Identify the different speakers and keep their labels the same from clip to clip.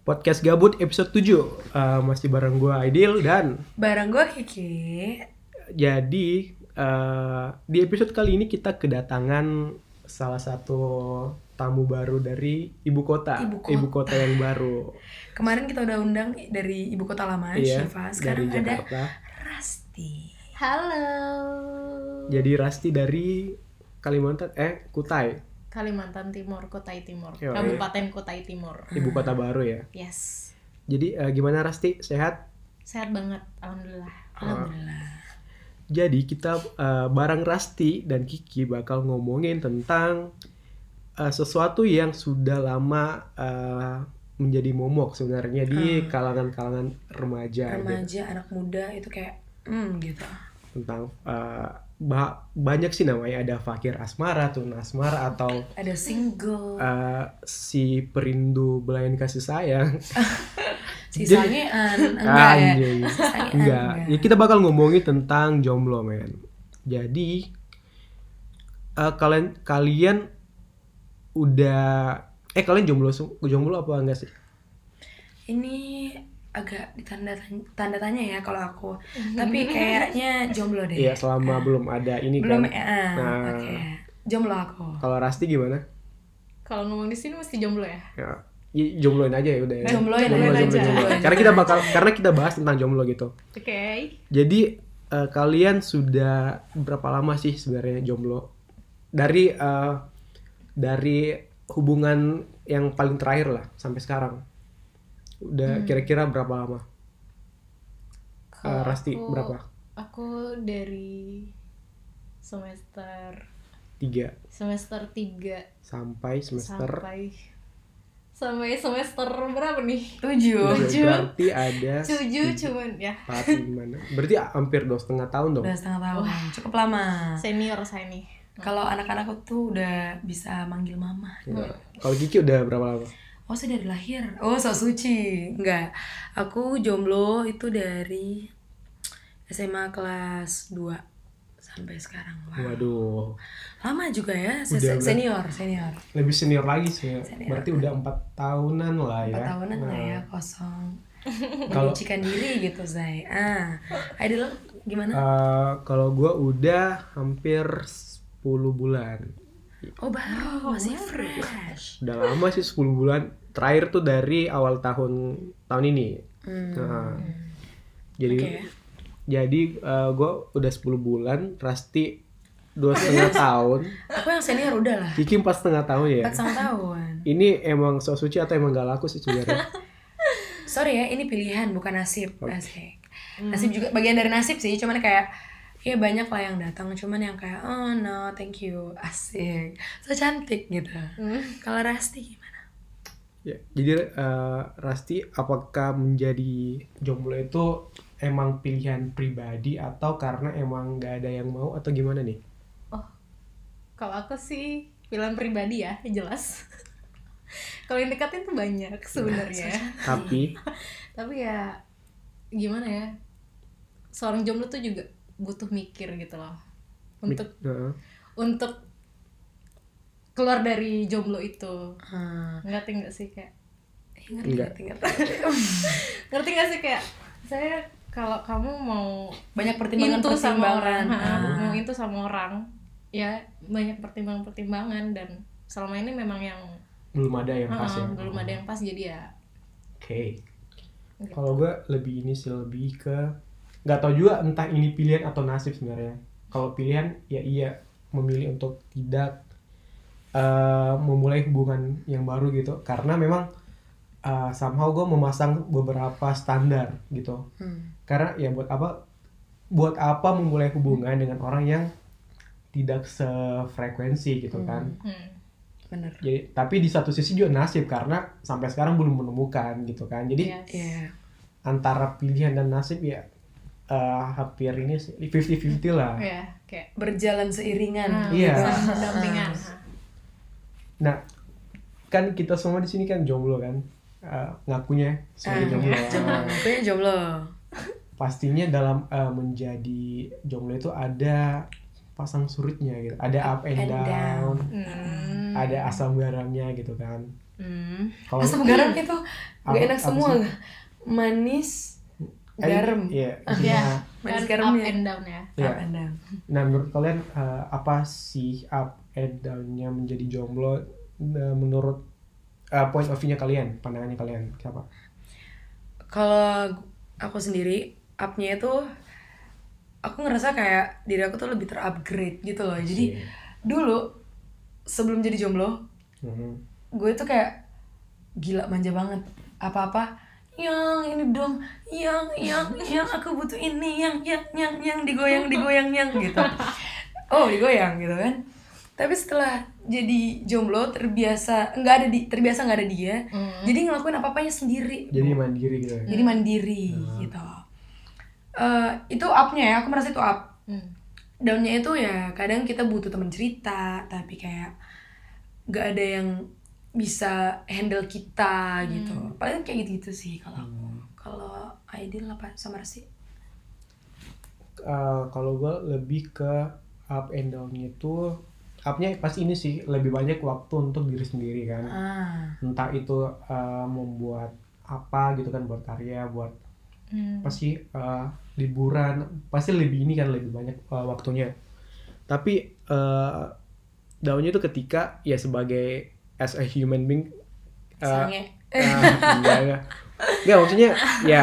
Speaker 1: Podcast Gabut episode 7 Eh, Masih bareng gue Aidil dan
Speaker 2: Barang gue Kiki.
Speaker 1: jadi eh, di episode kali ini kita kedatangan salah satu tamu baru dari ibu kota
Speaker 2: Ibu kota.
Speaker 1: yang baru Iya,
Speaker 2: Kemarin kita udah undang dari ibu kota lama, Syifa.
Speaker 1: dari
Speaker 2: Sekarang ada
Speaker 1: Jakarta
Speaker 2: Rasti.
Speaker 3: Halo.
Speaker 1: jadi Rasti dari Kalimantan eh Kutai
Speaker 3: Kalimantan Timur, Kutai Timur,
Speaker 1: Yoi.
Speaker 3: Kabupaten Kutai Timur.
Speaker 1: ibu kota baru ya
Speaker 3: Yes.
Speaker 1: jadi eh, gimana Rasti sehat
Speaker 3: Sehat banget, alhamdulillah.
Speaker 2: Alhamdulillah.
Speaker 1: Jadi kita eh, bareng Rasti dan Kiki bakal ngomongin tentang eh, sesuatu yang sudah lama eh, menjadi momok sebenarnya di kalangan-kalangan remaja, gitu.
Speaker 2: Hmm. Remaja, anak muda itu kayak hmm gitu.
Speaker 1: tentang eh, ba- banyak sih namanya ada fakir asmara, tuna asmara atau
Speaker 2: Ada single.
Speaker 1: eh, si perindu belayan kasih sayang.
Speaker 2: Sisanya enggak ya.
Speaker 1: Anjing.
Speaker 2: Sisanya
Speaker 1: Enggak. Ya, kita bakal ngomongin tentang jomblo, men. Jadi eh, kalian kalian udah eh kalian jomblo sem- jomblo apa enggak sih?
Speaker 2: Ini agak ditanda tanya, tanda tanya ya kalau aku. Tapi kayaknya jomblo deh.
Speaker 1: Iya, selama belum ada ini
Speaker 2: Eh, Belum
Speaker 1: kan.
Speaker 2: ya. ah,
Speaker 1: Nah.
Speaker 2: Oke. Jomblo aku.
Speaker 1: Kalau Rasti gimana?
Speaker 3: Kalau ngomong di sini mesti jomblo ya?
Speaker 1: Ya, i- jombloin aja ya udah. ya.
Speaker 2: Jombloin,
Speaker 1: jomblo,
Speaker 3: jombloin
Speaker 1: jomblo,
Speaker 3: aja.
Speaker 1: jomblo. Karena kita bakal karena kita bahas tentang jomblo gitu.
Speaker 3: Oke.
Speaker 1: Jadi eh, kalian sudah berapa lama sih sebenarnya jomblo? Dari eh, dari hubungan yang paling terakhir lah sampai sekarang.
Speaker 2: Hmm.
Speaker 1: Udah kira-kira berapa lama? Eh,
Speaker 3: Kalau
Speaker 1: Rasti
Speaker 3: aku-
Speaker 1: berapa?
Speaker 3: Aku dari semester
Speaker 1: Tiga
Speaker 3: semester 3
Speaker 1: sampai semester
Speaker 3: sampai sampai semester berapa nih?
Speaker 2: Tujuh.
Speaker 3: tujuh.
Speaker 1: Berarti ada
Speaker 3: 7 cuman ya.
Speaker 1: empat gimana? Berarti hampir dua setengah tahun dong. Iya.
Speaker 2: Udah setengah tahun. Cukup lama.
Speaker 3: Senior saya nih.
Speaker 2: Kalau anak-anak aku tuh udah bisa manggil mama.
Speaker 1: Iya. Kalau Kiki udah berapa lama?
Speaker 2: Oh, saya dari lahir. Oh, sok suci. Enggak. Aku jomblo itu dari SMA kelas 2 sampai sekarang. Wah.
Speaker 1: Waduh,
Speaker 2: Lama juga ya, se-
Speaker 1: Udah, udah.
Speaker 2: senior, senior.
Speaker 1: lebih senior lagi sih. ya.
Speaker 2: Senior.
Speaker 1: Berarti udah empat tahunan lah ya.
Speaker 2: Empat tahunan lah
Speaker 1: Nah.
Speaker 2: ya, kosong.
Speaker 1: Kalau-
Speaker 2: Menyucikan diri gitu, Zai. Ah, Aidil gimana?
Speaker 1: Eh, kalau gue udah hampir 10 bulan.
Speaker 2: Oh, baru masih fresh.
Speaker 1: Udah lama sih 10 bulan. Terakhir tuh dari awal tahun tahun ini.
Speaker 2: Hmm.
Speaker 1: Nah, jadi
Speaker 2: Oke.
Speaker 1: jadi gue udah 10 bulan, Rasti dua setengah tahun,
Speaker 2: Aku yang senior udah lah.
Speaker 1: Kiki empat setengah tahun ya.
Speaker 2: Empat sama tahun.
Speaker 1: Ini emang sok suci atau emang gak laku sih sebenarnya?
Speaker 2: sorry ya ini pilihan bukan nasib Asik.
Speaker 3: Hmm.
Speaker 2: nasib juga bagian dari nasib sih cuman kayak ya banyak lah yang datang cuman yang kayak oh no thank you asik so cantik gitu kalau Rasti gimana
Speaker 1: Ya, jadi eh, Rasti apakah menjadi jomblo itu emang pilihan pribadi atau karena emang gak ada yang mau atau gimana nih?
Speaker 3: Oh, kalau aku sih pilihan pribadi ya, jelas. kalau yang deketin tuh banyak
Speaker 2: Iya,
Speaker 3: sebenarnya.
Speaker 1: Tapi
Speaker 3: Tapi ya gimana ya? Seorang jomblo tuh juga butuh mikir gitu loh. Untuk
Speaker 1: Heeh.
Speaker 3: untuk keluar dari jomblo itu.
Speaker 2: hmm,
Speaker 3: Ngerti nggak sih kayak?
Speaker 2: ngerti
Speaker 1: Enggak.
Speaker 2: ngerti ngerti.
Speaker 3: Ngerti nggak sih kayak? Saya kalau kamu mau
Speaker 2: banyak pertimbangan
Speaker 3: itu sama
Speaker 2: pertimbangan
Speaker 3: orang ha, mau
Speaker 2: Ah.
Speaker 3: itu sama orang ya banyak pertimbangan pertimbangan dan selama ini memang yang,
Speaker 1: belum ada yang
Speaker 3: ha,
Speaker 1: pas ya.
Speaker 3: belum ada yang pas jadi ya gitu.
Speaker 1: Oke. Kalau gue lebih ini sih lebih ke nggak tau juga entah ini pilihan atau nasib sebenarnya. Kalau pilihan ya iya memilih untuk tidak eh, memulai hubungan yang baru gitu karena memang eh, somehow gue memasang beberapa standar gitu.
Speaker 2: Hmm.
Speaker 1: Karena ya buat apa buat apa memulai hubungan dengan orang yang tidak sefrekuensi gitu kan.
Speaker 3: hmm.
Speaker 2: bener
Speaker 1: Jadi, tapi di satu sisi juga nasib karena sampai sekarang belum menemukan gitu kan. Jadi
Speaker 3: Yes.
Speaker 2: Iya.
Speaker 1: antara pilihan dan nasib ya eh, hampir ini sih 50-50 lah.
Speaker 3: ya kayak
Speaker 2: berjalan seiringan
Speaker 3: ah,
Speaker 1: Iya.
Speaker 3: saling berdampingan Ha.
Speaker 1: Nah, kan kita semua di sini kan jomblo kan. Eh, ngakunya sebagai
Speaker 2: Ah,
Speaker 1: jomblo.
Speaker 2: jomblo
Speaker 1: Nah,
Speaker 2: Gue yang jomblo
Speaker 1: pastinya dalam eh, menjadi jomblo itu ada pasang surutnya gitu. Ada up and,
Speaker 2: And
Speaker 1: down.
Speaker 2: down.
Speaker 3: Hmm.
Speaker 1: ada asam garamnya gitu kan
Speaker 3: Hmm.
Speaker 1: kalau
Speaker 2: Asam garam itu
Speaker 1: Oh. Apa-
Speaker 2: gak enak
Speaker 1: apa
Speaker 2: semua
Speaker 1: sih?
Speaker 2: nggak? Manis,
Speaker 1: Eh,
Speaker 2: garam,
Speaker 1: iya
Speaker 3: Iya.
Speaker 1: Nah,
Speaker 2: manis
Speaker 3: Kan up
Speaker 2: garamnya.
Speaker 3: and down ya.
Speaker 1: iya.
Speaker 2: Up and down.
Speaker 1: nah menurut kalian eh, apa sih up and down-nya menjadi jomblo eh, menurut eh, point of view-nya kalian pandangannya kalian siapa
Speaker 2: Kalau gu- aku sendiri upnya itu aku ngerasa kayak diri aku tuh lebih terupgrade gitu loh. Jadi
Speaker 1: Iya.
Speaker 2: dulu sebelum jadi jomblo,
Speaker 1: Mhm.
Speaker 2: gue tuh kayak gila manja banget apa-apa yang ini dong yang yang yang aku butuh ini yang yang yang yang digoyang digoyang yang gitu oh digoyang gitu kan tapi setelah jadi jomblo terbiasa nggak ada di terbiasa nggak ada dia
Speaker 3: Hmm.
Speaker 2: jadi ngelakuin apa-apanya sendiri
Speaker 1: jadi mandiri gitu ya
Speaker 2: jadi mandiri gitu Eh, itu upnya ya aku merasa itu up
Speaker 3: Hmm.
Speaker 2: downnya itu ya kadang kita butuh teman cerita tapi kayak gak ada yang bisa handle kita gitu
Speaker 1: Hmm.
Speaker 2: paling kayak gitu gitu sih kalau aku kalau Aidil apa sama sih
Speaker 1: Eh, kalau gue lebih ke up and down-nya itu up-nya pasti ini sih lebih banyak waktu untuk diri sendiri
Speaker 3: Hmm.
Speaker 1: kan
Speaker 2: ah
Speaker 1: entah itu eh, membuat apa gitu kan buat karya buat
Speaker 3: Hmm.
Speaker 1: pasti eh, liburan pasti lebih ini kan lebih banyak eh, waktunya tapi eh daunnya itu ketika ya sebagai as a human being eh,
Speaker 2: sange
Speaker 1: eh, enggak, enggak. Enggak, maksudnya ya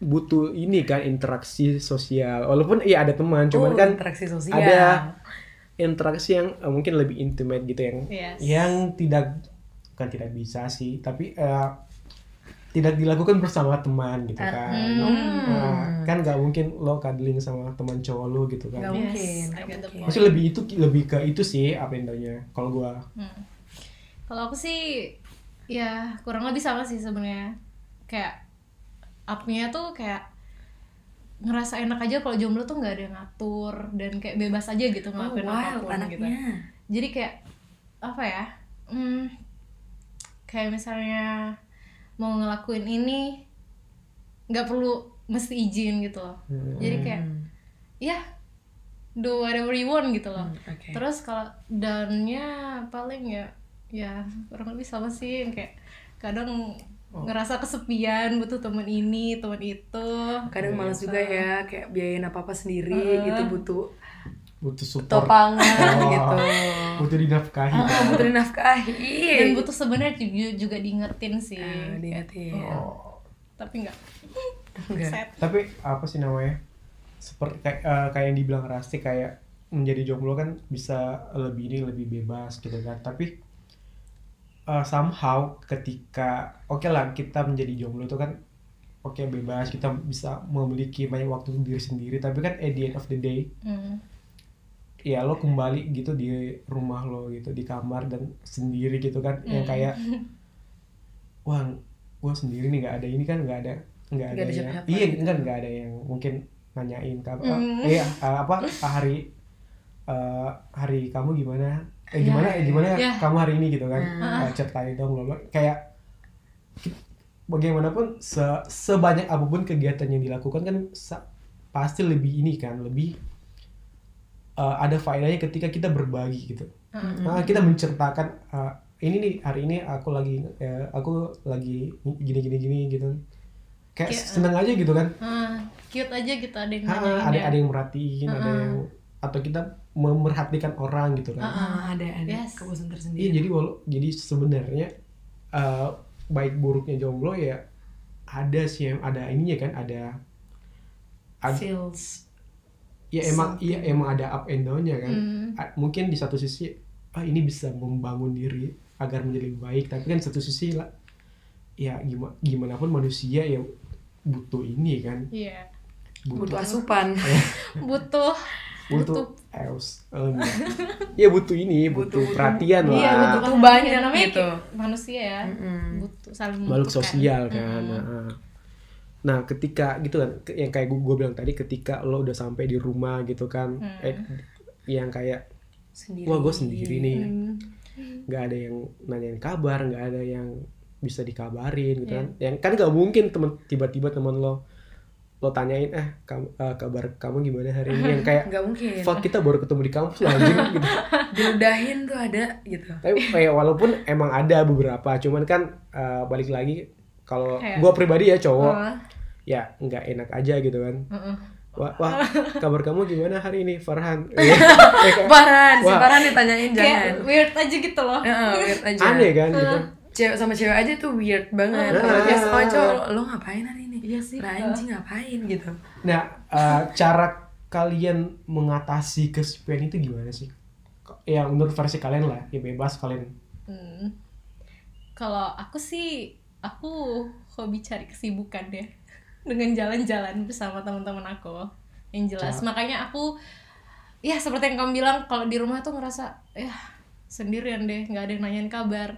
Speaker 1: butuh ini kan interaksi sosial walaupun ya ada teman cuman
Speaker 2: Oh,
Speaker 1: kan
Speaker 2: interaksi sosial
Speaker 1: ada- interaksi yang eh, mungkin lebih intimate gitu yang
Speaker 3: Yes.
Speaker 1: yang tidak bukan tidak bisa sih tapi eh, tidak dilakukan bersama teman gitu kan
Speaker 2: Ah, hmm.
Speaker 1: Nah, kan nggak mungkin lo cuddling sama teman cowok lo gitu
Speaker 2: nggak
Speaker 1: kan
Speaker 3: Yes,
Speaker 2: mungkin
Speaker 3: I
Speaker 2: nggak
Speaker 3: get the
Speaker 2: mungkin.
Speaker 1: maksudnya lebih itu lebih ke itu sih apa endanya kalau gua
Speaker 3: Hmm. Kalau aku sih ya kurang lebih sama sih sebenarnya. Kayak up-nya tuh kayak ngerasa enak aja kalau jomblo tuh nggak ada yang ngatur dan kayak bebas aja gitu
Speaker 2: oh,
Speaker 3: ngelakuin
Speaker 2: wild
Speaker 3: apapun gitu.
Speaker 2: anaknya
Speaker 3: Jadi kayak apa ya? Hmm, kayak misalnya mau ngelakuin ini nggak perlu mesti izin gitu loh.
Speaker 1: Hmm.
Speaker 3: Jadi kayak
Speaker 2: Hmm.
Speaker 3: ya do whatever you want gitu loh.
Speaker 2: Hmm, oke
Speaker 3: Terus kalau down-nya paling ya ya kurang lebih sama sih yang kayak kadang
Speaker 1: Oh.
Speaker 3: ngerasa kesepian butuh temen ini temen itu
Speaker 1: Iya.
Speaker 2: kadang malas juga ya kayak biayain apa apa sendiri gitu butuh
Speaker 1: butuh support
Speaker 2: topangan
Speaker 1: Oh.
Speaker 2: gitu
Speaker 1: butuh dinafkahi
Speaker 2: Ah,
Speaker 1: kan.
Speaker 2: butuh nafkahi
Speaker 3: dan butuh sebenarnya juga, juga diingetin sih
Speaker 2: Ah, diingetin.
Speaker 1: Oh.
Speaker 3: tapi nggak
Speaker 2: Enggak.
Speaker 3: set
Speaker 1: tapi apa sih namanya seperti kayak, eh, kayak yang dibilang Rasti kayak menjadi jomblo kan bisa lebih ini lebih bebas gitu kan tapi eh, somehow ketika oke lah kita menjadi jomblo itu kan oke bebas kita bisa memiliki banyak waktu untuk diri sendiri tapi kan at the end of the day
Speaker 3: Hmm.
Speaker 1: ya lo kembali gitu di rumah lo gitu di kamar dan sendiri gitu kan yang kayak wah gue sendiri nih nggak ada ini kan nggak ada nggak ada,
Speaker 2: Nggak ada
Speaker 1: yang
Speaker 2: siapa-siapa
Speaker 1: iya
Speaker 2: gitu.
Speaker 1: kan nggak ada yang mungkin nanyain kamu ah,
Speaker 3: Mm.
Speaker 1: eh, ah, apa ah, hari eh, hari kamu gimana eh gimana eh gimana
Speaker 3: Ya.
Speaker 1: kamu hari ini gitu kan
Speaker 2: Hmm.
Speaker 1: Eh, chat tadi dong lo kayak bagaimanapun se- sebanyak apapun kegiatan yang dilakukan kan sa- pasti lebih ini kan lebih eh, ada faedahnya ketika kita berbagi gitu Nah, kita menceritakan ah, ini nih hari ini aku lagi eh, aku lagi gini gini gini gitu kayak
Speaker 3: Kayak,
Speaker 1: seneng aja gitu kan
Speaker 3: Ah, cute aja gitu ada yang
Speaker 1: Ah,
Speaker 3: nanyain
Speaker 1: ada
Speaker 3: ya.
Speaker 1: ada yang merhatiin ada
Speaker 3: Mm-mm.
Speaker 1: yang atau kita memerhatikan orang gitu kan
Speaker 2: Ah, ada ada
Speaker 3: Yes.
Speaker 2: kepuasan
Speaker 1: iya
Speaker 2: tersendiri.
Speaker 1: jadi walau jadi sebenarnya eh, baik buruknya jomblo ya ada sih em- ada ininya kan ada ad-
Speaker 2: Feels.
Speaker 1: ya emang iya emang ada up and down-nya kan
Speaker 3: Hmm.
Speaker 1: A- mungkin di satu sisi ah ini bisa membangun diri agar menjadi lebih baik tapi kan di satu sisi lah ya gimana gimana pun manusia ya butuh ini kan
Speaker 3: Iya.
Speaker 2: butuh
Speaker 1: butuh
Speaker 2: asupan,
Speaker 1: Hmm.
Speaker 3: butuh
Speaker 1: butuh eus eh, enggak. ya butuh ini butuh,
Speaker 2: Butuh- butuh-
Speaker 1: perhatian
Speaker 2: Iya,
Speaker 1: lah
Speaker 2: butuh
Speaker 3: perhatian.
Speaker 2: banyak
Speaker 3: namanya
Speaker 2: gitu.
Speaker 3: kayak manusia ya
Speaker 2: Mm-mm.
Speaker 3: butuh saling
Speaker 1: Hmm. makhluk
Speaker 3: membutuhkan. Hmm,
Speaker 1: sosial kan.
Speaker 3: Mm-mm.
Speaker 1: Nah, nah, ketika gitu kan ke- yang kayak gue bilang tadi ketika lo udah sampai di rumah gitu kan
Speaker 3: Hmm.
Speaker 1: eh, yang kayak
Speaker 2: sendiri.
Speaker 1: wah gue sendiri nih
Speaker 3: Hmm.
Speaker 1: nggak ada yang nanyain kabar nggak ada yang bisa dikabarin gitu kan yang kan nggak mungkin temen tiba-tiba teman lo lo tanyain eh kam- eh, kabar kamu gimana hari ini yang kayak
Speaker 2: nggak mungkin
Speaker 1: fuck kita baru ketemu di kampus lah, anjing gitu
Speaker 2: diludahin tuh ada gitu
Speaker 1: tapi eh, walaupun emang ada beberapa cuman kan eh, balik lagi kalau
Speaker 3: Kayak-
Speaker 1: gua pribadi ya cowok
Speaker 3: Heeh.
Speaker 1: ya nggak enak aja gitu kan
Speaker 3: Heeh.
Speaker 1: wah, wah kabar kamu gimana hari ini Farhan Eh, kayak
Speaker 2: Farhan, si
Speaker 1: Wah.
Speaker 2: Farhan ditanyain jangan
Speaker 3: kayak weird aja gitu loh
Speaker 1: Eh.
Speaker 2: Heeh, weird aja
Speaker 1: aneh kan gitu
Speaker 2: Cewek sama cewek aja tuh weird banget
Speaker 1: Heeh.
Speaker 2: Kalau dia sama cowok, lo, lo ngapain hari ini?
Speaker 3: Iya sih,
Speaker 2: Lah
Speaker 3: heeh.
Speaker 2: anjing ngapain gitu
Speaker 1: nah eh, cara kalian mengatasi kesepian itu gimana sih yang menurut versi kalian lah ya bebas kalian
Speaker 3: Hmm. Kalau aku sih, aku hobi cari kesibukan deh dengan jalan-jalan bersama teman-teman aku. Yang jelas,
Speaker 1: Cak.
Speaker 3: makanya aku ya seperti yang kamu bilang kalau di rumah tuh ngerasa ya sendirian deh, nggak ada yang nanyain kabar.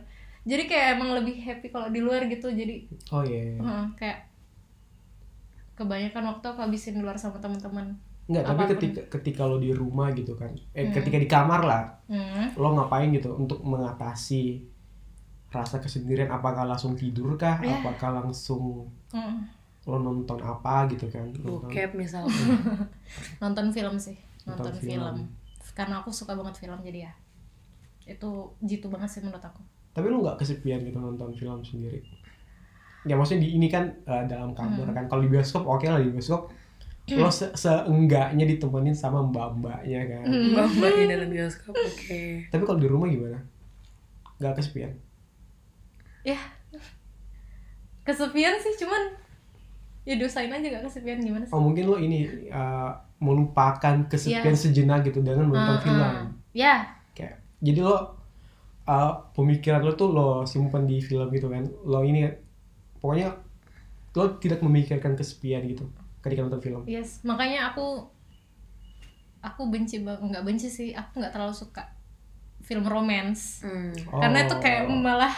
Speaker 3: Jadi kayak emang lebih happy kalau di luar gitu. Jadi
Speaker 1: oh iya
Speaker 3: heeh, kayak kebanyakan waktu aku habisin di luar sama teman-teman.
Speaker 1: nggak tapi
Speaker 3: Apapun.
Speaker 1: ketika ketika lo di rumah gitu kan eh ketika di kamar lah
Speaker 3: Hmm.
Speaker 1: lo ngapain gitu untuk mengatasi rasa kesendirian apakah langsung tidur kah
Speaker 3: Ya.
Speaker 1: apakah langsung
Speaker 3: Hmm.
Speaker 1: lo nonton apa gitu kan Nonton-
Speaker 2: Bokep misalnya
Speaker 3: nonton film sih
Speaker 1: Nonton
Speaker 3: nonton,
Speaker 1: film.
Speaker 3: film. karena aku suka banget film jadi ya itu jitu banget sih menurut aku
Speaker 1: tapi lo nggak kesepian gitu nonton film sendiri ya maksudnya di ini kan eh, dalam
Speaker 3: Hmm.
Speaker 1: kamar kan kalau di bioskop oke lah di bioskop lo se seenggaknya ditemenin sama mbak mbaknya kan
Speaker 3: Hmm.
Speaker 2: Mbak-mbak di dalam bioskop, oke
Speaker 1: tapi kalau di rumah gimana nggak kesepian
Speaker 3: ya kesepian sih cuman ya dosain aja gak kesepian gimana sih
Speaker 1: oh mungkin lo ini eh, melupakan kesepian sejenak gitu dengan nonton
Speaker 3: Iya. Ah,
Speaker 1: film
Speaker 3: ah. ya
Speaker 1: kayak jadi lo uh, pemikiran lo tuh lo simpan di film gitu kan lo ini pokoknya lo tidak memikirkan kesepian gitu ketika nonton film
Speaker 3: yes makanya aku aku benci banget nggak benci sih aku nggak terlalu suka film romance
Speaker 2: Hmm.
Speaker 1: Oh.
Speaker 3: karena itu kayak malah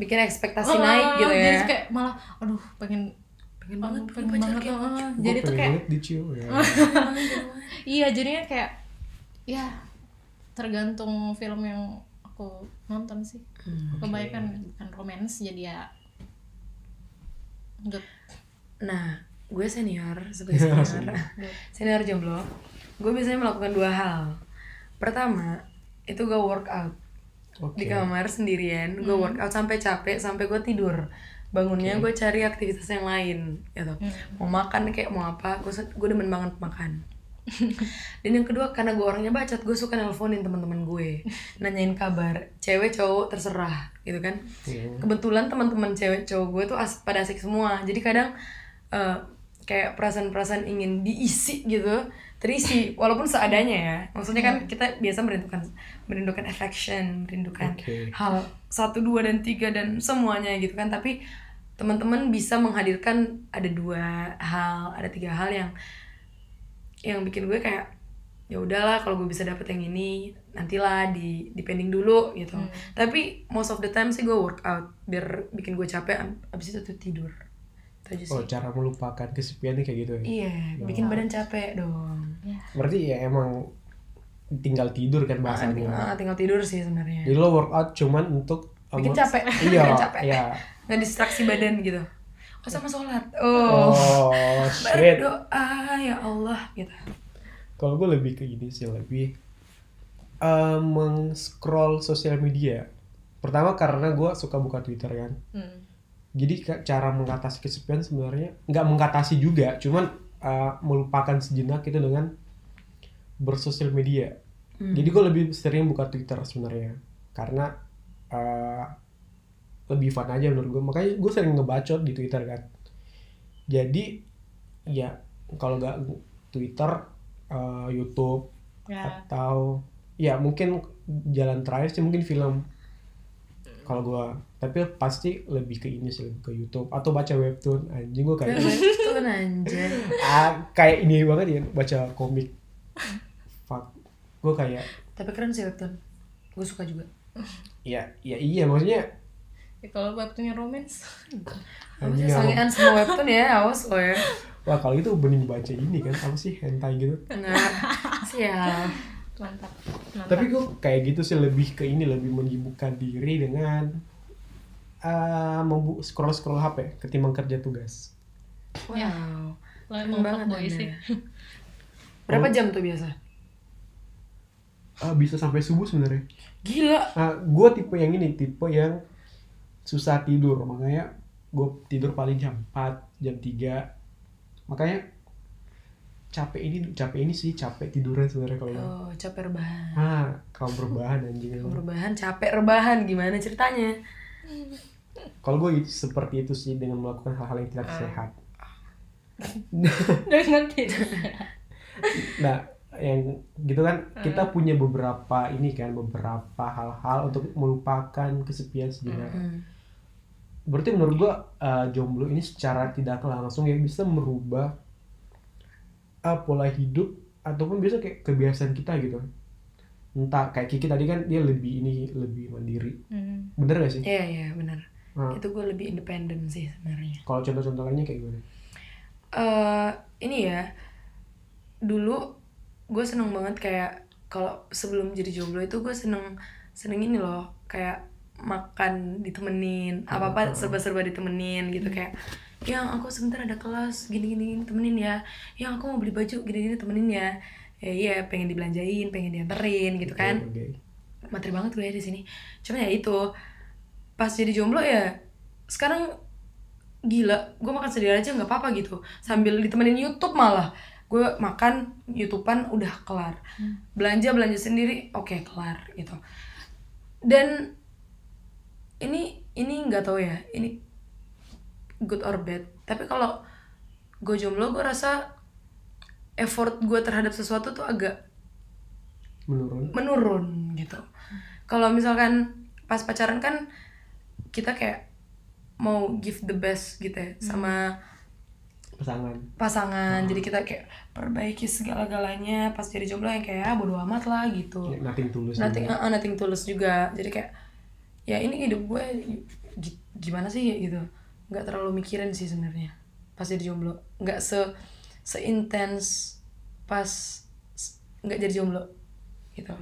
Speaker 2: Bikin ekspektasi naik gitu
Speaker 3: Oh, Ah, jadi
Speaker 2: ya
Speaker 3: kayak malah aduh pengen
Speaker 2: Pengen
Speaker 3: banget, pengen
Speaker 2: punya pacar
Speaker 3: banget,
Speaker 2: kayak
Speaker 3: ah, ah.
Speaker 1: Gua
Speaker 3: jadi tuh
Speaker 1: pengen
Speaker 3: kayak
Speaker 1: banget dicium, ya.
Speaker 3: Iya jadinya kayak ya tergantung film yang aku nonton sih.
Speaker 2: Hmm.
Speaker 3: Kebanyakan bukan romance jadi ya good.
Speaker 2: Nah, gue senior
Speaker 3: Iya,
Speaker 2: sebagai senior, Nah,
Speaker 3: Good.
Speaker 2: senior jomblo, gue biasanya melakukan dua hal. Pertama, itu gue workout
Speaker 1: Oke.
Speaker 2: di kamar sendirian, gue
Speaker 3: Hmm.
Speaker 2: workout sampai capek, sampai gue tidur. Bangunnya gue cari aktivitas yang lain, gitu.
Speaker 3: Hmm.
Speaker 2: Mau makan kayak mau apa, gue gue demen banget makan. Dan yang kedua karena gue orangnya bacot, gue suka nelponin teman-teman gue, nanyain kabar, cewek cowok terserah, gitu kan
Speaker 1: Iya.
Speaker 2: kebetulan teman-teman cewek cowok gue tuh as pada asik semua jadi kadang eh, kayak perasaan-perasaan ingin diisi gitu terisi walaupun seadanya ya maksudnya kan kita biasa merindukan merindukan affection merindukan
Speaker 1: Oke.
Speaker 2: hal satu dua dan tiga dan semuanya gitu kan tapi teman-teman bisa menghadirkan ada dua hal ada tiga hal yang yang bikin gue kayak ya udahlah kalau gue bisa dapet yang ini nantilah di depending dulu gitu tapi most of the time sih gue workout biar bikin gue capek ab- abis itu tuh tidur itu aja sih
Speaker 1: oh cara melupakan kesepian nih kayak gitu ya
Speaker 2: iya bikin badan capek dong
Speaker 1: berarti ya emang tinggal tidur kan bahasanya
Speaker 2: Ah, tinggal tidur sih sebenarnya
Speaker 1: jadi lo workout cuman untuk um,
Speaker 2: bikin capek
Speaker 1: iya
Speaker 2: bikin capek
Speaker 1: iya
Speaker 2: nggak distraksi badan gitu oh sama sholat oh,
Speaker 1: oh shit
Speaker 2: berdoa ya Allah gitu
Speaker 1: Kalau gue lebih ke ini sih lebih eh, meng-scroll sosial media. Pertama karena gue suka buka Twitter kan.
Speaker 3: Hmm.
Speaker 1: Jadi ka- cara mengatasi kesepian sebenarnya nggak mengatasi juga, cuman eh, melupakan sejenak itu dengan bersosial media.
Speaker 2: Hmm.
Speaker 1: Jadi gue lebih sering buka Twitter sebenarnya karena eh, lebih fun aja menurut gue. Makanya gue sering ngebacot di Twitter kan. Jadi ya kalau nggak Twitter, eh, YouTube,
Speaker 3: Ya.
Speaker 1: atau ya mungkin jalan terakhir sih mungkin film kalau gua tapi pasti lebih ke ini sih lebih ke YouTube atau baca webtoon anjing gua kayak
Speaker 2: itu anjay
Speaker 1: ah, kayak ini banget ya baca komik fuck gua kayak
Speaker 2: tapi keren sih webtoon gue suka juga
Speaker 1: ya ya iya maksudnya
Speaker 3: Ya, kalau webtoonnya romance.
Speaker 2: Apa
Speaker 1: anjing
Speaker 2: sih
Speaker 1: apa-
Speaker 2: sangean ya, semua webtoon ya awas lo ya
Speaker 1: wah kalau gitu bening baca ini kan apa sih hentai gitu
Speaker 2: nah sial
Speaker 3: Mantap. Mantap.
Speaker 1: tapi gue kayak gitu sih lebih ke ini lebih menyibukkan diri dengan ah, eh membu scroll scroll HP ketimbang kerja tugas
Speaker 2: wow
Speaker 3: Lain
Speaker 2: Keren banget
Speaker 3: banget boy
Speaker 2: Anda.
Speaker 3: sih.
Speaker 2: Berapa jam tuh biasa?
Speaker 1: Ah, bisa sampai subuh sebenarnya.
Speaker 2: Gila.
Speaker 1: Nah, gue tipe yang ini, tipe yang susah tidur. Makanya gue tidur paling jam 4, jam 3. Makanya capek ini, capek ini sih, capek tiduran sebenarnya kalau gua.
Speaker 2: Oh, capek rebahan.
Speaker 1: Ah, kalau berbahan anjing.
Speaker 2: Kalau Rebahan capek rebahan gimana ceritanya?
Speaker 1: Kalau gue seperti itu sih dengan melakukan hal-hal yang tidak
Speaker 2: Ah.
Speaker 1: sehat.
Speaker 3: Dengan tidak.
Speaker 1: Nah, yang gitu kan
Speaker 2: Ah.
Speaker 1: kita punya beberapa ini kan beberapa hal-hal untuk melupakan kesepian sejenak.
Speaker 2: Hmm.
Speaker 1: Berarti menurut gua uh, jomblo ini secara tidak langsung ya bisa merubah uh, pola hidup ataupun biasa kayak kebiasaan kita gitu. Entah kayak Kiki tadi kan dia lebih ini lebih mandiri.
Speaker 3: Hmm.
Speaker 1: Bener gak sih?
Speaker 2: Iya iya benar.
Speaker 1: Nah,
Speaker 2: Itu gue lebih independen sih sebenarnya.
Speaker 1: kalau contoh-contoh lainnya kayak gimana?
Speaker 2: eh ini ya dulu gue seneng banget kayak kalau sebelum jadi jomblo itu gue seneng seneng ini loh kayak makan ditemenin apa apa serba-serba ditemenin gitu kayak yang aku sebentar ada kelas gini gini, gini, temenin ya yang aku mau beli baju gini gini temenin ya ya iya pengen dibelanjain pengen dianterin gitu kan
Speaker 1: Oke.
Speaker 2: materi banget gue ya di sini cuman ya itu pas jadi jomblo ya sekarang gila gue makan sendiri aja nggak apa-apa gitu sambil ditemenin YouTube malah gue makan YouTubean udah kelar
Speaker 3: hmm.
Speaker 2: belanja belanja sendiri oke kelar gitu dan ini ini nggak tahu ya ini good or bad tapi kalau gue jomblo gue rasa effort gue terhadap sesuatu tuh agak
Speaker 1: Menurun.
Speaker 2: menurun gitu. Kalau misalkan pas pacaran kan kita kayak mau give the best gitu ya sama
Speaker 1: pasangan
Speaker 2: pasangan. Jadi kita kayak perbaiki segala-galanya pas jadi jomblo yang kayak "Ah, bodo amat lah gitu.
Speaker 1: Kayak nothing tulus
Speaker 2: Nothing
Speaker 1: gitu.
Speaker 2: uh, uh, nothing tulus juga. Jadi kayak ya ini hidup gue gi- gimana sih gitu. nggak terlalu mikirin sih sebenarnya pas jadi jomblo. nggak se seintens pas s- nggak jadi jomblo gitu.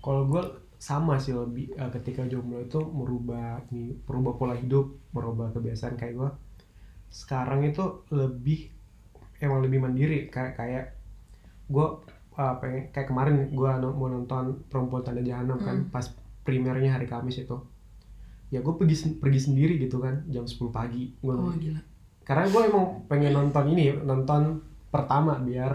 Speaker 1: kalau gue sama sih lebih eh, ketika jomblo itu merubah ini merubah pola hidup merubah kebiasaan kayak gue sekarang itu lebih emang lebih mandiri kayak kayak gue pengen ya, kayak kemarin gue mau nonton perempuan tanda jahanam kan
Speaker 2: Hmm.
Speaker 1: pas primernya hari kamis itu ya gue pergi sen- pergi sendiri gitu kan jam 10 pagi gue
Speaker 2: Oh gila.
Speaker 1: karena gue emang pengen nonton ini nonton pertama biar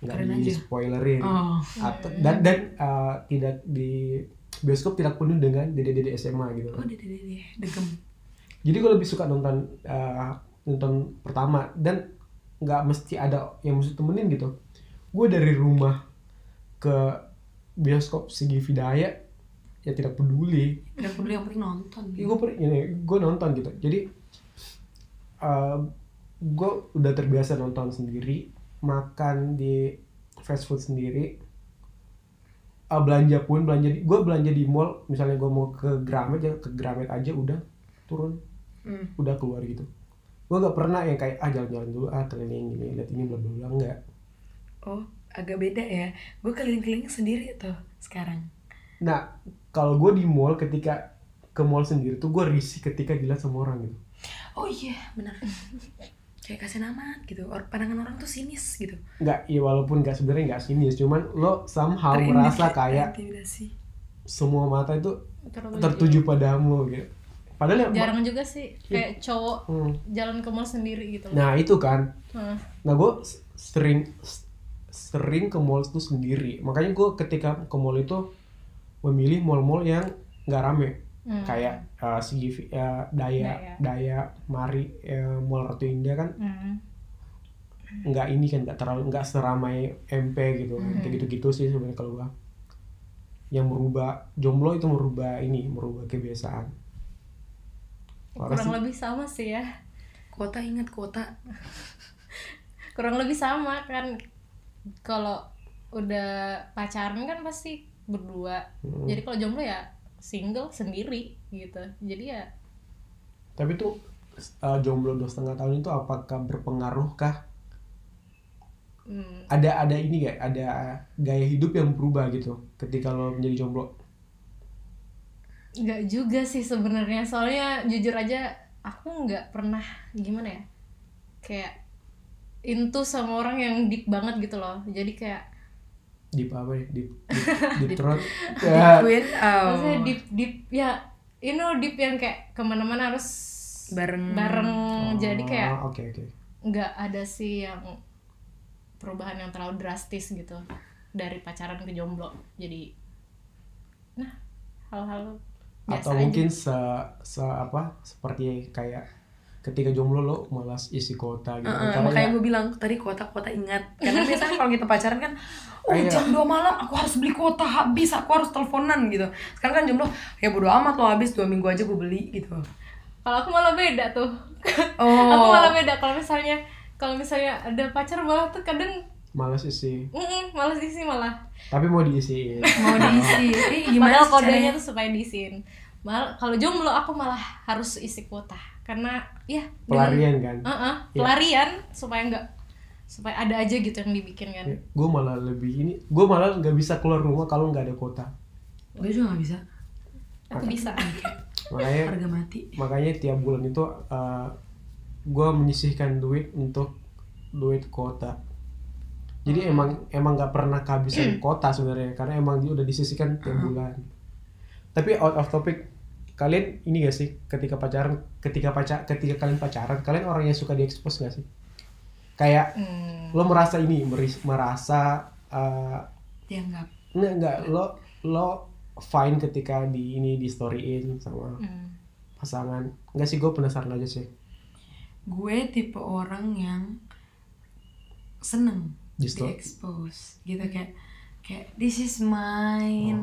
Speaker 1: nggak di
Speaker 2: Keren aja.
Speaker 1: spoilerin
Speaker 2: Oh.
Speaker 1: atau dan dan uh, tidak di bioskop tidak penuh dengan dede-dede SMA gitu.
Speaker 2: Oh, deh, deh, deh, deh, degem.
Speaker 1: Jadi gue lebih suka nonton uh, nonton pertama dan nggak mesti ada yang mesti temenin gitu. Gue dari rumah ke bioskop Sigi Vidaya ya tidak peduli.
Speaker 2: Udah peduli yang penting nonton. gitu.
Speaker 1: Gue gue nonton gitu. Jadi uh, gue udah terbiasa nonton sendiri, makan di fast food sendiri, Ah, belanja pun belanja di, gue belanja di mall misalnya gue mau ke Gramet ya ke Gramet aja udah turun
Speaker 2: Hmm.
Speaker 1: udah keluar gitu gue nggak pernah yang kayak ah jalan-jalan dulu ah keliling ini lihat ini bla bla bla nggak
Speaker 2: Oh, agak beda ya. Gue keliling-keliling sendiri tuh sekarang.
Speaker 1: nah kalau gue di mall ketika ke mall sendiri tuh gue risih ketika dilihat sama orang gitu
Speaker 2: Oh iya, benar. Kayak kasih nama gitu. Or, pandangan orang tuh sinis gitu.
Speaker 1: nggak ya walaupun nggak sebenarnya nggak sinis cuman lo somehow
Speaker 2: Terindis-
Speaker 1: merasa kayak
Speaker 2: terintimidasi.
Speaker 1: semua mata itu
Speaker 3: Terlalu
Speaker 1: tertuju padamu gitu padahal ya
Speaker 3: Jarang juga sih kayak cowok
Speaker 1: Hmm.
Speaker 3: jalan ke mall sendiri gitu.
Speaker 1: nah itu kan
Speaker 3: Nah.
Speaker 1: Nah gue sering sering ke mall itu sendiri. Makanya gue ketika ke mall itu memilih mall-mall yang nggak rame.
Speaker 3: Hmm.
Speaker 1: Kayak uh, CGV, uh, Daya, Daya, Mari, uh, Mall Ratu Indah kan
Speaker 3: Hmm.
Speaker 1: nggak ini kan nggak terlalu nggak seramai MP gitu
Speaker 3: Hmm.
Speaker 1: kan. Kayak gitu-gitu sih sebenarnya kalau gue yang merubah jomblo itu merubah ini merubah kebiasaan Parah
Speaker 3: Kurang
Speaker 1: sih.
Speaker 3: lebih sama sih ya.
Speaker 2: Kuota ingat kuota.
Speaker 3: kurang lebih sama kan kalau udah pacaran kan pasti berdua
Speaker 1: Hmm.
Speaker 2: Hmm.
Speaker 3: jadi kalau jomblo ya single sendiri gitu jadi ya
Speaker 1: tapi tuh uh, jomblo dua setengah tahun itu apakah berpengaruh kah
Speaker 3: hmm,
Speaker 1: ada ada ini gak ada eh, gaya hidup yang berubah gitu ketika lo menjadi jomblo
Speaker 3: nggak juga sih sebenarnya soalnya jujur aja aku nggak pernah gimana ya kayak into sama orang yang deep banget gitu loh jadi kayak
Speaker 1: deep apa ya deep deep, deep throat ya
Speaker 2: Queen oh.
Speaker 3: maksudnya deep deep ya you know deep yang kayak kemana-mana harus
Speaker 2: bareng
Speaker 3: bareng jadi kayak
Speaker 1: Oh, oke oke
Speaker 3: nggak ada sih yang perubahan yang terlalu drastis gitu dari pacaran ke jomblo jadi nah hal-hal biasa
Speaker 1: atau
Speaker 3: aja.
Speaker 1: mungkin se se apa seperti kayak ketika jomblo lo malas isi kota gitu
Speaker 2: Heeh,
Speaker 1: Karena
Speaker 2: makanya
Speaker 1: ya-
Speaker 2: gue bilang tadi kuota-kuota ingat karena biasanya kalau kita pacaran kan oh
Speaker 1: Iya.
Speaker 2: jam 2 malam aku harus beli kuota habis aku harus teleponan gitu sekarang kan jomblo ya bodo amat lo habis dua minggu aja gue beli gitu
Speaker 3: kalau aku malah beda tuh
Speaker 2: Oh.
Speaker 3: aku malah beda kalau misalnya kalau misalnya ada pacar malah tuh kadang
Speaker 1: malas isi
Speaker 3: mm malas isi malah
Speaker 1: tapi mau Nah, diisi
Speaker 2: mau diisi eh, gimana
Speaker 3: Padahal
Speaker 2: sih
Speaker 3: kodenya
Speaker 2: caranya
Speaker 3: tuh supaya diisiin Mal, kalau jomblo aku malah harus isi kuota karena ya dengan-
Speaker 1: pelarian kan
Speaker 3: Uh-uh,
Speaker 1: Ya.
Speaker 3: pelarian supaya nggak supaya ada aja gitu yang dibikin kan
Speaker 1: gue Ya, malah lebih ini gue malah nggak bisa keluar rumah kalau nggak ada kota
Speaker 2: gue juga gak bisa
Speaker 3: aku bisa
Speaker 1: makanya
Speaker 2: harga mati
Speaker 1: makanya tiap bulan itu eh, gua gue menyisihkan duit untuk duit kota jadi emang emang nggak pernah kehabisan kota sebenarnya karena emang dia udah disisihkan tiap bulan tapi out of topic kalian ini gak sih ketika pacaran ketika pacar ketika kalian pacaran kalian orang yang suka diekspos gak sih kayak
Speaker 3: Hmm,
Speaker 1: lo merasa ini meris- merasa eh,
Speaker 2: dianggap
Speaker 1: Enggak, enggak. Lo lo fine ketika di ini di storyin sama
Speaker 3: hmm.
Speaker 1: pasangan. Enggak sih, gue penasaran aja sih.
Speaker 2: gue tipe orang yang seneng
Speaker 1: Di store?
Speaker 2: di expose gitu kayak kayak this is mine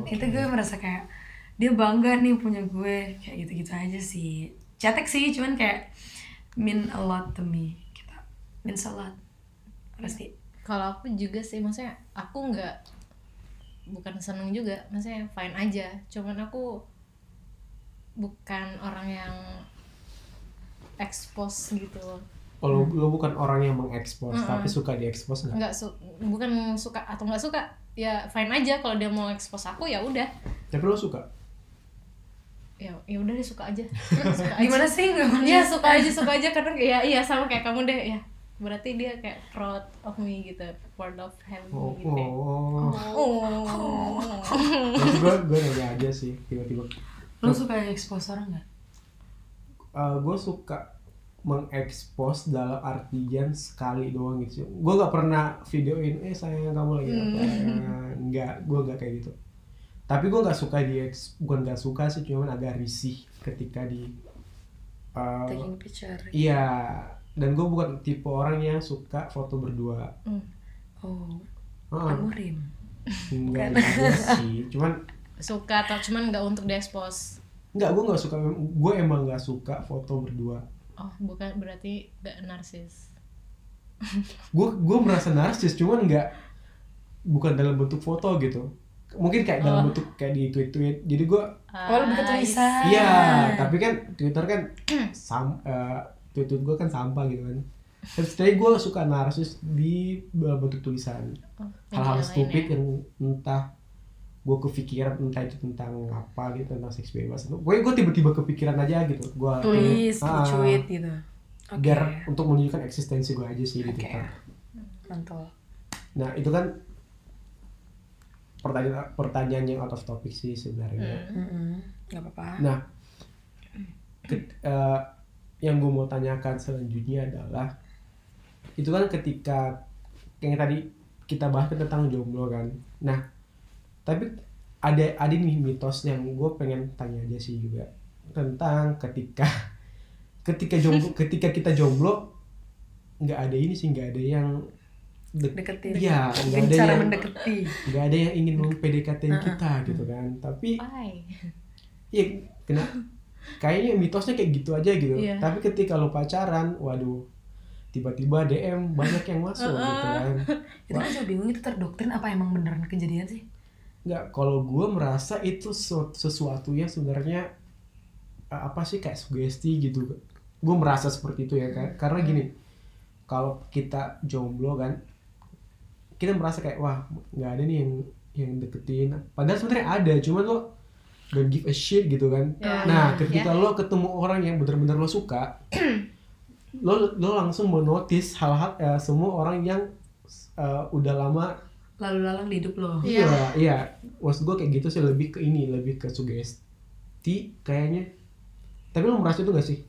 Speaker 1: Oh, Oke.
Speaker 2: itu gue merasa kayak dia bangga nih punya gue kayak gitu gitu aja sih cetek sih cuman kayak mean a lot to me kita means a lot pasti
Speaker 3: kalau aku juga sih maksudnya aku nggak bukan seneng juga maksudnya fine aja cuman aku bukan orang yang expose gitu loh
Speaker 1: Oh, lo, lo bukan orang yang mengekspos, tapi suka diekspos enggak?
Speaker 3: nggak su- bukan suka atau nggak suka ya fine aja kalau dia mau expose aku ya udah
Speaker 1: Tapi lo suka.
Speaker 3: ya ya udah deh suka aja suka aja
Speaker 2: gimana sih nggak
Speaker 3: Iya suka aja suka aja karena ya iya sama kayak kamu deh ya berarti dia kayak proud of me gitu proud of having me
Speaker 1: Oh,
Speaker 3: gitu
Speaker 1: oh.
Speaker 3: ya. oh.
Speaker 1: gue gue nanya aja sih tiba-tiba.
Speaker 2: lo suka expose orang nggak
Speaker 1: gue Eh, suka mengekspos dalam artian sekali doang gitu. Gue nggak pernah videoin, eh sayang kamu lagi apa? Enggak, gue nggak kayak gitu. Tapi gue nggak suka di, gue nggak suka sih, cuman agak risih ketika di. eh,
Speaker 2: taking picture
Speaker 1: iya, dan gue bukan tipe orang yang suka foto berdua.
Speaker 3: Hmm.
Speaker 2: oh
Speaker 1: Heeh,
Speaker 2: murim
Speaker 1: enggak juga sih, cuman
Speaker 3: suka atau cuman nggak untuk diekspos
Speaker 1: enggak gue nggak suka, gue emang nggak suka foto berdua.
Speaker 3: oh bukan berarti nggak narsis
Speaker 1: gue gue merasa narsis cuman nggak bukan dalam bentuk foto gitu mungkin kayak dalam bentuk kayak di tweet tweet jadi gue
Speaker 2: oh lo bukan
Speaker 3: Ah,
Speaker 2: tulisan
Speaker 1: iya tapi kan twitter kan sam tweet tweet gue kan sampah gitu kan tapi sebenarnya gue suka narsis di dalam bentuk tulisan
Speaker 3: oh,
Speaker 1: hal-hal
Speaker 3: yang
Speaker 1: stupid
Speaker 3: lain ya.
Speaker 1: yang entah gue kepikiran entah itu tentang apa gitu tentang seks bebas gue gue tiba-tiba kepikiran aja gitu gue
Speaker 2: tulis
Speaker 1: ah,
Speaker 2: lo cuit gitu oke
Speaker 1: biar untuk menunjukkan eksistensi gue aja sih di
Speaker 2: Oke.
Speaker 1: Twitter.
Speaker 2: mantul
Speaker 1: Nah itu kan pertanyaan pertanyaan yang out of topic sih
Speaker 3: Hmm.
Speaker 1: sebenarnya.
Speaker 2: Mm-mm, nggak apa-apa
Speaker 1: Nah, ke- eh, yang gue mau tanyakan selanjutnya adalah itu kan ketika yang tadi kita bahas kan tentang jomblo kan. Nah, tapi ada ada nih mitos yang gue pengen tanya aja sih juga tentang ketika ketika jomblo ketika kita jomblo nggak ada ini sih nggak ada yang dek-
Speaker 2: deketin
Speaker 1: Iya, nggak
Speaker 2: Mungkin
Speaker 1: ada
Speaker 2: cara
Speaker 1: yang-
Speaker 2: mendekati
Speaker 1: nggak ada yang ingin mempdkt kita gitu kan tapi
Speaker 3: Bye.
Speaker 1: ya kena kayaknya mitosnya kayak gitu aja gitu
Speaker 3: Iya.
Speaker 1: tapi ketika lo pacaran waduh tiba-tiba dm banyak yang masuk gitu kan
Speaker 2: itu kan juga bingung itu terdoktrin apa emang beneran kejadian sih
Speaker 1: nggak kalau gue merasa itu su- sesuatu yang sebenarnya eh, apa sih kayak sugesti gitu gue merasa seperti itu ya kan karena gini kalau kita jomblo kan kita merasa kayak wah nggak ada nih yang yang deketin padahal sebenarnya ada cuman lo don't give a shit gitu kan
Speaker 3: Ya,
Speaker 1: nah
Speaker 3: ya,
Speaker 1: ketika lo ketemu orang yang benar-benar lo suka lo lo langsung menotis hal-hal eh, semua orang yang eh, udah lama
Speaker 2: lalu lalang di hidup lo
Speaker 3: Iya.
Speaker 1: iya iya maksud gue kayak gitu sih lebih ke ini lebih ke sugesti kayaknya tapi lo merasa itu gak sih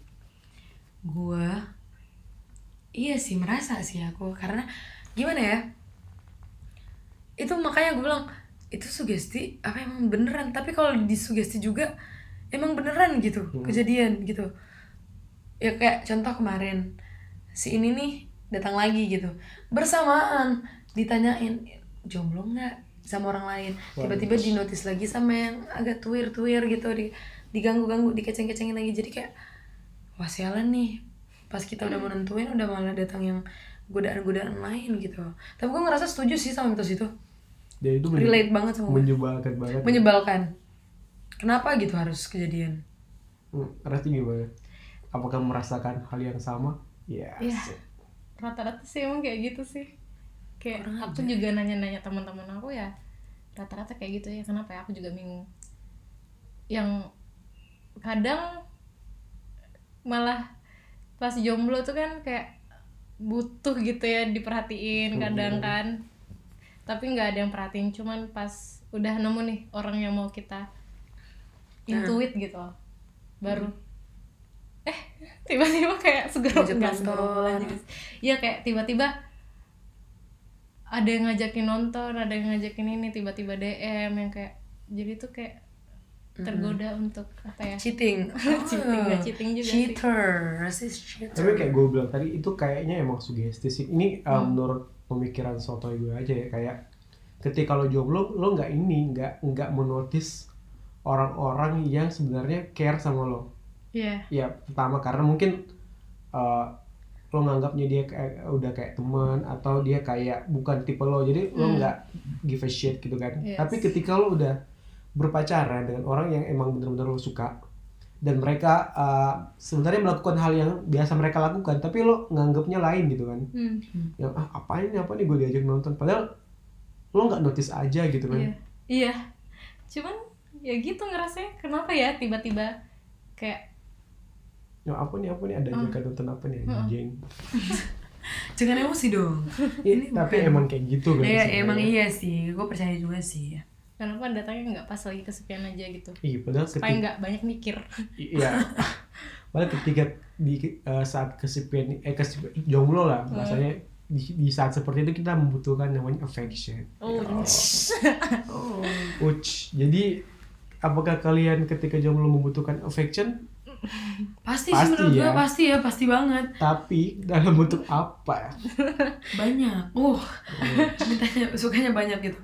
Speaker 2: gue iya sih merasa sih aku karena gimana ya itu makanya gue bilang itu sugesti apa emang beneran tapi kalau disugesti juga emang beneran gitu
Speaker 1: Hmm.
Speaker 2: kejadian gitu ya kayak contoh kemarin si ini nih datang lagi gitu bersamaan ditanyain jomblo nggak sama orang lain
Speaker 1: Waduh.
Speaker 2: tiba-tiba dinotis lagi sama yang agak tuir-tuir gitu di diganggu-ganggu dikeceng-kecengin lagi jadi kayak wah sialan nih pas kita
Speaker 1: Hmm.
Speaker 2: udah menentuin udah malah datang yang godaan-godaan lain gitu tapi gue ngerasa setuju sih sama mitos itu
Speaker 1: jadi itu menye-
Speaker 2: relate banget sama gue
Speaker 1: menyebalkan banget
Speaker 2: menyebalkan kenapa gitu harus kejadian
Speaker 1: Hmm, Rasti gimana apakah merasakan hal yang sama ya
Speaker 3: Iya. rata-rata sih emang kayak gitu sih kayak aku juga nanya-nanya teman-teman aku ya rata-rata kayak gitu ya kenapa ya aku juga bingung yang kadang malah pas jomblo tuh kan kayak butuh gitu ya diperhatiin kadang kan tapi nggak ada yang perhatiin cuman pas udah nemu nih orang yang mau kita intuit gitu loh. baru eh tiba-tiba kayak
Speaker 2: Ngajak
Speaker 3: segerombolan
Speaker 2: nonton.
Speaker 3: segerombolan gitu. Iya kayak tiba-tiba ada yang ngajakin nonton, ada yang ngajakin ini, tiba-tiba DM yang kayak jadi tuh kayak tergoda untuk apa ya?
Speaker 2: cheating
Speaker 3: Cheating, nggak cheating juga sih.
Speaker 2: cheater racist cheater
Speaker 1: tapi kayak gue bilang tadi itu kayaknya emang sugesti sih ini uh, menurut pemikiran sotoy gue aja ya kayak ketika lo jomblo lo nggak ini nggak nggak menotis orang-orang yang sebenarnya care sama lo
Speaker 3: Iya.
Speaker 1: ya pertama karena mungkin uh, lo nganggapnya dia kayak, udah kayak teman atau dia kayak bukan tipe lo jadi lo
Speaker 3: Hmm.
Speaker 1: nggak give a shit gitu kan
Speaker 3: Yes.
Speaker 1: tapi ketika lo udah berpacaran dengan orang yang emang bener-bener lo suka dan mereka uh, sebenarnya melakukan hal yang biasa mereka lakukan tapi lo nganggapnya lain gitu kan
Speaker 3: Hmm.
Speaker 1: yang ah apa ini apa nih gue diajak nonton padahal lo nggak notice aja gitu
Speaker 3: Iya.
Speaker 1: kan
Speaker 3: Iya. Cuman ya gitu ngerasanya kenapa ya tiba-tiba kayak
Speaker 1: yang "Ya, apa nih apa nih ada ajakan nonton apa nih anjing
Speaker 2: jangan emosi dong
Speaker 1: Iya, tapi emang kayak gitu kan
Speaker 2: ya, emang
Speaker 1: sebenarnya.
Speaker 2: iya sih gue percaya juga sih
Speaker 3: kenapa datangnya nggak pas lagi kesepian aja gitu.
Speaker 1: Iya, padahal ketika
Speaker 3: Supaya nggak banyak mikir.
Speaker 1: Iya. Malah ketika di eh, saat kesepian eh kesepian jomblo lah
Speaker 2: Hmm.
Speaker 1: rasanya di, di saat seperti itu kita membutuhkan namanya affection.
Speaker 3: Oh.
Speaker 2: iya. oh
Speaker 1: Uch. Jadi apakah kalian ketika jomblo membutuhkan affection
Speaker 2: pasti, sih
Speaker 1: Pasti
Speaker 2: menurut gue
Speaker 1: ya.
Speaker 2: pasti ya pasti banget
Speaker 1: tapi dalam bentuk apa?
Speaker 2: banyak uh mintanya sukanya banyak gitu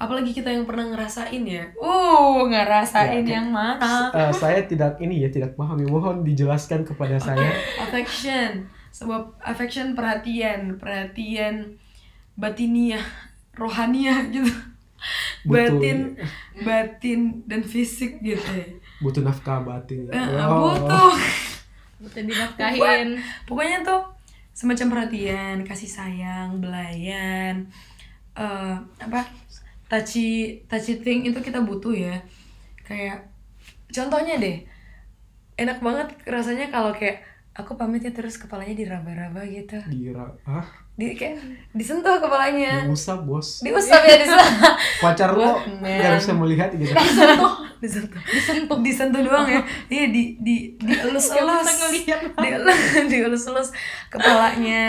Speaker 2: apalagi kita yang pernah ngerasain ya uh
Speaker 1: Ya,
Speaker 2: ngerasain
Speaker 1: kan.
Speaker 2: yang mana
Speaker 1: Eh, saya tidak ini ya tidak paham. ya. Mohon dijelaskan kepada saya.
Speaker 2: affection sebab affection perhatian perhatian batiniah rohaniah gitu
Speaker 1: Butuh
Speaker 2: batin batin dan fisik gitu
Speaker 1: butuh nafkah batin.
Speaker 2: Eh,
Speaker 1: Oh.
Speaker 2: butuh
Speaker 3: Bisa dinafkahin.
Speaker 2: pokoknya tuh semacam perhatian kasih sayang belayan eh apa touchy touchy thing itu kita butuh ya kayak contohnya deh enak banget rasanya kalau kayak aku pamit ya terus kepalanya diraba-raba gitu
Speaker 1: Dira, ah,
Speaker 2: di kayak disentuh kepalanya
Speaker 1: diusap bos.
Speaker 2: diusap
Speaker 3: Iya.
Speaker 2: ya disentuh
Speaker 1: Pacar lo
Speaker 2: Batman.
Speaker 1: nggak bisa melihat gitu.
Speaker 2: disentuh disentuh disentuh doang ya iya di di dielus-elus
Speaker 3: Nggak bisa ngelihat.
Speaker 2: Dielus- dielus-elus kepalanya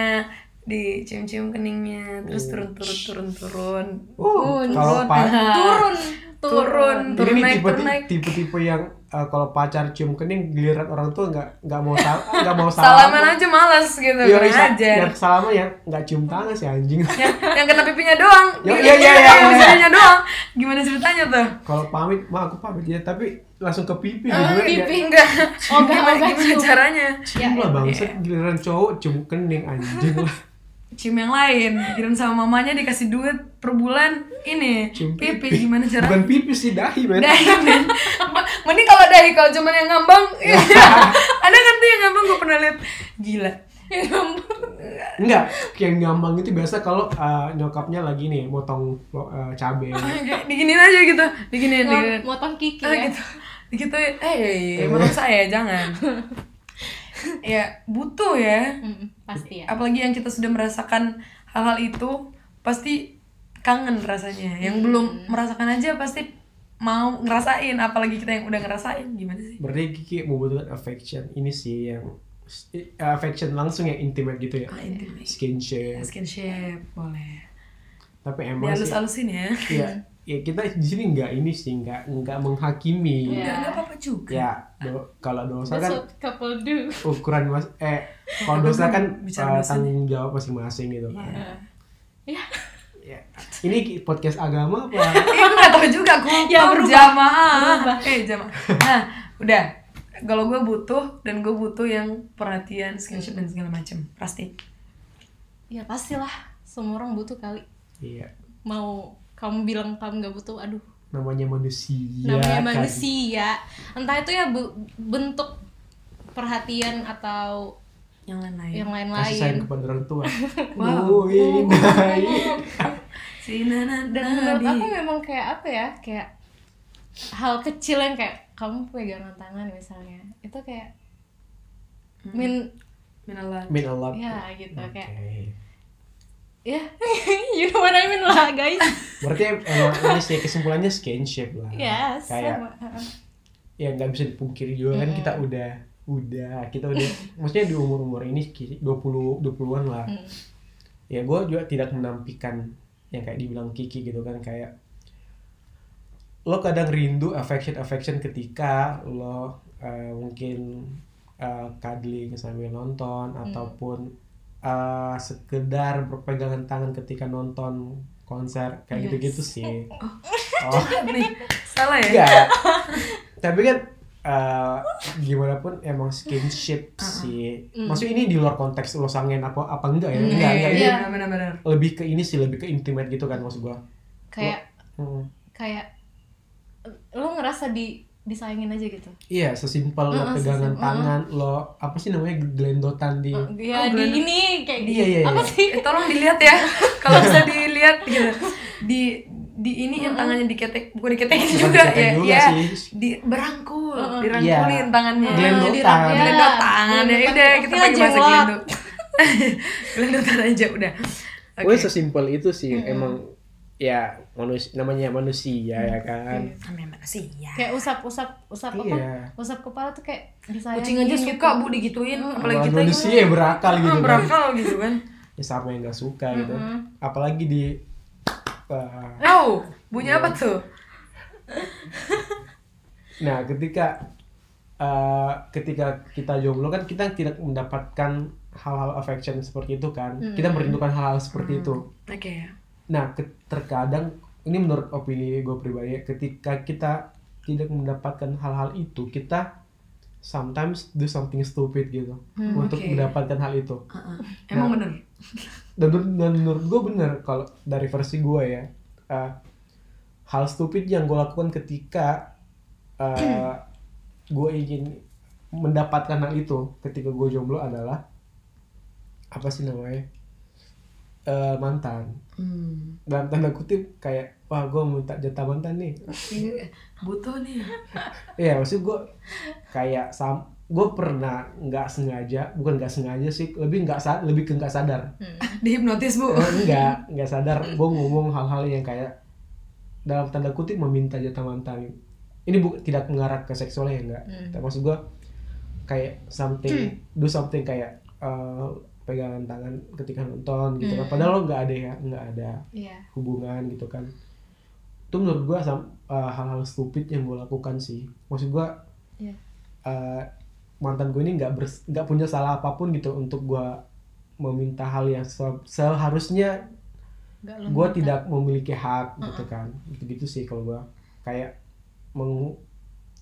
Speaker 2: dicium-cium keningnya terus turun turun turun turun
Speaker 1: Uh,
Speaker 2: Nah,
Speaker 1: kalau pa-
Speaker 3: Turun,
Speaker 2: Ah. turun
Speaker 3: turun.
Speaker 2: turun
Speaker 1: Jadi ini
Speaker 2: naik
Speaker 1: tipe,
Speaker 2: turun naik
Speaker 1: tipe-tipe yang eh, kalau pacar cium kening giliran orang tua nggak nggak mau sal nggak mau salam.
Speaker 2: salaman aja malas gitu
Speaker 1: Iya,
Speaker 2: kurang
Speaker 1: sa-
Speaker 2: ajar
Speaker 1: Yang salaman ya nggak cium tangan sih anjing.
Speaker 2: yang, yang kena pipinya doang
Speaker 1: Yo,
Speaker 2: Gimana
Speaker 1: iya, iya,
Speaker 2: ceritanya,
Speaker 1: iya, iya.
Speaker 2: maksudnya doang gimana ceritanya tuh
Speaker 1: kalau pamit, mah aku pamit ya, tapi langsung ke pipi
Speaker 2: Ah,
Speaker 1: gitu kan, nggak-
Speaker 3: pipi.
Speaker 2: enggak
Speaker 3: Oh, enggak,
Speaker 2: gimana,
Speaker 3: enggak
Speaker 2: gimana
Speaker 3: cium.
Speaker 2: caranya
Speaker 1: Cium lah bangset,
Speaker 2: ya.
Speaker 1: giliran cowok cium kening anjing lah.
Speaker 2: cium yang lain pikiran sama mamanya dikasih duit per bulan ini
Speaker 1: Cium
Speaker 2: pipi. gimana
Speaker 1: Bukan
Speaker 2: caranya
Speaker 1: pipi sih dahi men.
Speaker 2: dahi men mending kalau dahi kalau cuman yang ngambang ada kan tuh yang ngambang gue pernah lihat gila yang ngambang
Speaker 1: Enggak, yang ngambang itu biasa kalau eh, nyokapnya lagi nih motong lo- eh, cabe.
Speaker 2: Kayak diginiin aja gitu diginiin diginiin
Speaker 3: Motong kiki
Speaker 2: Ah,
Speaker 3: ya.
Speaker 2: gitu gitu eh hey, menurut saya jangan ya butuh ya
Speaker 3: Mm, pasti ya
Speaker 2: apalagi yang kita sudah merasakan hal-hal itu pasti kangen rasanya yang
Speaker 3: Hmm.
Speaker 2: belum merasakan aja pasti mau ngerasain apalagi kita yang udah ngerasain gimana sih
Speaker 1: Berarti Kiki membutuhkan affection ini sih yang eh, affection langsung yang intimate gitu ya.
Speaker 2: Ah, intimate.
Speaker 1: Skinship.
Speaker 2: Skinship boleh
Speaker 1: Tapi emang Iya. sih
Speaker 2: dihalus-halusin ya
Speaker 1: ya, ya kita di sini nggak ini sih nggak nggak menghakimi.
Speaker 3: Iya.
Speaker 2: nggak nggak apa-apa juga
Speaker 1: Ya, do- kalau dosa
Speaker 3: that's
Speaker 1: kan
Speaker 3: what couple do
Speaker 1: ukuran mas eh kalau
Speaker 2: Apa
Speaker 1: dosa
Speaker 2: sih,
Speaker 1: kan
Speaker 2: bicara
Speaker 1: eh,
Speaker 2: dosa
Speaker 1: tanggung jawab masing-masing gitu kan.
Speaker 2: Iya.
Speaker 1: Ya. Ini ki- podcast agama apa?
Speaker 2: Eh, gue gak tau juga, aku
Speaker 3: Ya,
Speaker 2: lupa
Speaker 3: berubah.
Speaker 2: jamaah.
Speaker 3: Berubah.
Speaker 2: Eh, jamaah. Nah, udah. Kalau gue butuh, dan gue butuh yang perhatian, skinship, dan segala macem. Pasti.
Speaker 3: ya pastilah semua orang butuh kali
Speaker 1: Iya.
Speaker 3: mau kamu bilang kamu nggak butuh aduh
Speaker 1: Namanya manusia.
Speaker 3: namanya
Speaker 1: kan.
Speaker 3: manusia entah itu ya bu- bentuk perhatian atau
Speaker 2: Yang lain-lain.
Speaker 1: Iya, Kasih
Speaker 3: yang
Speaker 1: sayang Iya.
Speaker 3: lain-lain Iya,
Speaker 1: kepada orang tua.
Speaker 2: Wow. Oh.
Speaker 1: Woi, dai.
Speaker 2: Si Nana
Speaker 3: dan
Speaker 2: dan
Speaker 3: Nah, menurut aku
Speaker 2: Nabi.
Speaker 3: memang kayak apa ya kayak hal kecil yang kayak kamu pegangan tangan misalnya itu kayak
Speaker 1: Hmm.
Speaker 2: Hmm,
Speaker 3: min
Speaker 2: Minallah.
Speaker 1: Mean a lot.
Speaker 3: ya gitu kayak
Speaker 1: Oke.
Speaker 3: ya you know what I mean lah guys
Speaker 1: Berarti emang ini sih kesimpulannya skinship lah.
Speaker 3: yes
Speaker 1: Kayak
Speaker 3: sama.
Speaker 1: ya nggak bisa dipungkiri juga kan kita udah udah kita udah maksudnya di umur umur ini ki- 20 20-an lah.
Speaker 3: Mm.
Speaker 1: Ya gue juga tidak menampikan yang kayak dibilang Kiki gitu kan kayak lo kadang rindu affection affection ketika lo eh, mungkin eh, cuddling sambil
Speaker 3: Mm.
Speaker 1: nonton ataupun eh, sekedar berpegangan tangan ketika nonton konser kayak
Speaker 3: Yes.
Speaker 1: gitu-gitu sih. Oh.
Speaker 2: Nih, salah ya?
Speaker 1: Enggak. Iya. Tapi kan eh, gimana pun emang skinship
Speaker 2: Ah,
Speaker 1: sih.
Speaker 3: Mm.
Speaker 1: Maksudnya ini di luar konteks lo sangen apa apa enggak ya?
Speaker 3: Mm,
Speaker 1: Enggak,
Speaker 2: Iya,
Speaker 1: enggak. Ini
Speaker 2: iya,
Speaker 3: iya.
Speaker 2: benar-benar.
Speaker 1: lebih ke ini sih, lebih ke intimate gitu kan maksud gua.
Speaker 3: kayak
Speaker 1: Mm.
Speaker 3: kayak lo ngerasa di disayangin aja gitu
Speaker 1: Iya, sesimpel lo
Speaker 3: Mm-mm,
Speaker 1: pegangan
Speaker 3: sesimpel.
Speaker 1: tangan, lo apa sih namanya gelendotan di
Speaker 3: ya
Speaker 2: Oh,
Speaker 3: di
Speaker 2: bener.
Speaker 3: ini kayak di
Speaker 1: Iya, iya,
Speaker 3: apa
Speaker 1: iya.
Speaker 3: sih
Speaker 2: Eh, tolong dilihat ya. Kalau bisa dilihat gitu. Di di ini yang tangannya diketek, bukan diketekin
Speaker 1: Bukan
Speaker 2: juga
Speaker 1: diketek
Speaker 2: ya.
Speaker 1: juga
Speaker 2: Iya.
Speaker 1: sih. Iya.
Speaker 2: Di berangkul,
Speaker 3: Heeh.
Speaker 2: dirangkulin tangannya.
Speaker 1: Glendo
Speaker 3: Di
Speaker 1: tangan.
Speaker 3: rakyat.
Speaker 2: Glendo tangan ya udah kita
Speaker 3: Iya. Oke,
Speaker 2: pakai bahasa
Speaker 3: jenggot.
Speaker 2: glendo. glendo tangan aja udah. Oke.
Speaker 1: Wes sesimpel itu sih emang ya manusia namanya manusia ya kan.
Speaker 2: Namanya mana sih ya?
Speaker 3: Iya. kayak usap-usap usap apa
Speaker 1: Iya.
Speaker 3: usap kepala tuh kayak disayangin
Speaker 2: Kucing aja
Speaker 3: gitu.
Speaker 2: suka bu digituin, apalagi
Speaker 1: Apalagi
Speaker 2: kita
Speaker 1: manusia
Speaker 2: gimana?
Speaker 1: ya berakal gitu
Speaker 2: Ah,
Speaker 1: kan.
Speaker 2: berakal gitu kan.
Speaker 1: Ya, sama yang gak suka gitu.
Speaker 3: Mm-mm.
Speaker 1: Apalagi di eh,
Speaker 2: Oh, bunyi apa
Speaker 1: Iya.
Speaker 2: tuh?
Speaker 1: Nah, ketika eh, ketika kita jomblo kan kita tidak mendapatkan hal-hal affection seperti itu kan. Kita merindukan hal-hal seperti itu.
Speaker 2: Oke ya.
Speaker 1: Nah, ke- terkadang ini menurut opini gue pribadi, ya, ketika kita tidak mendapatkan hal-hal itu, kita sometimes do something stupid gitu untuk
Speaker 2: oke.
Speaker 1: mendapatkan hal itu.
Speaker 2: Heeh. Emang
Speaker 1: Nah.
Speaker 2: bener.
Speaker 1: Dan, menur- dan menurut gue bener kalau dari versi gue ya, eh, hal stupid yang gue lakukan ketika eh, gue ingin mendapatkan hal itu ketika gue jomblo adalah apa sih namanya Eh, mantan
Speaker 3: Mm.
Speaker 2: Hmm.
Speaker 1: dalam tanda kutip kayak wah gue minta jatah mantan nih
Speaker 2: Iya. Butuh nih.
Speaker 1: Iya maksud gue kayak sam gue pernah nggak sengaja bukan nggak sengaja sih lebih nggak sa- lebih ke nggak sadar
Speaker 3: Hmm,
Speaker 2: Dihipnotis bu.
Speaker 1: Eh, nggak nggak sadar gue ngomong hal-hal yang kayak dalam tanda kutip meminta jatah mantan ini bu tidak mengarah ke seksualnya ya nggak
Speaker 3: Hmm.
Speaker 1: Tapi maksud gue kayak something do something kayak eh, pegangan tangan ketika nonton gitu kan padahal lo nggak ada ya nggak ada
Speaker 3: iya
Speaker 1: hubungan gitu kan itu menurut gua sam- eh, hal-hal stupid yang gua lakukan sih maksud gua
Speaker 3: iya
Speaker 1: eh, mantan gua ini nggak bers- nggak punya salah apapun gitu untuk gua meminta hal yang se- seharusnya
Speaker 3: Nggak lo
Speaker 1: gua
Speaker 3: minta.
Speaker 1: tidak memiliki hak gitu kan gitu gitu sih kalau gua kayak meng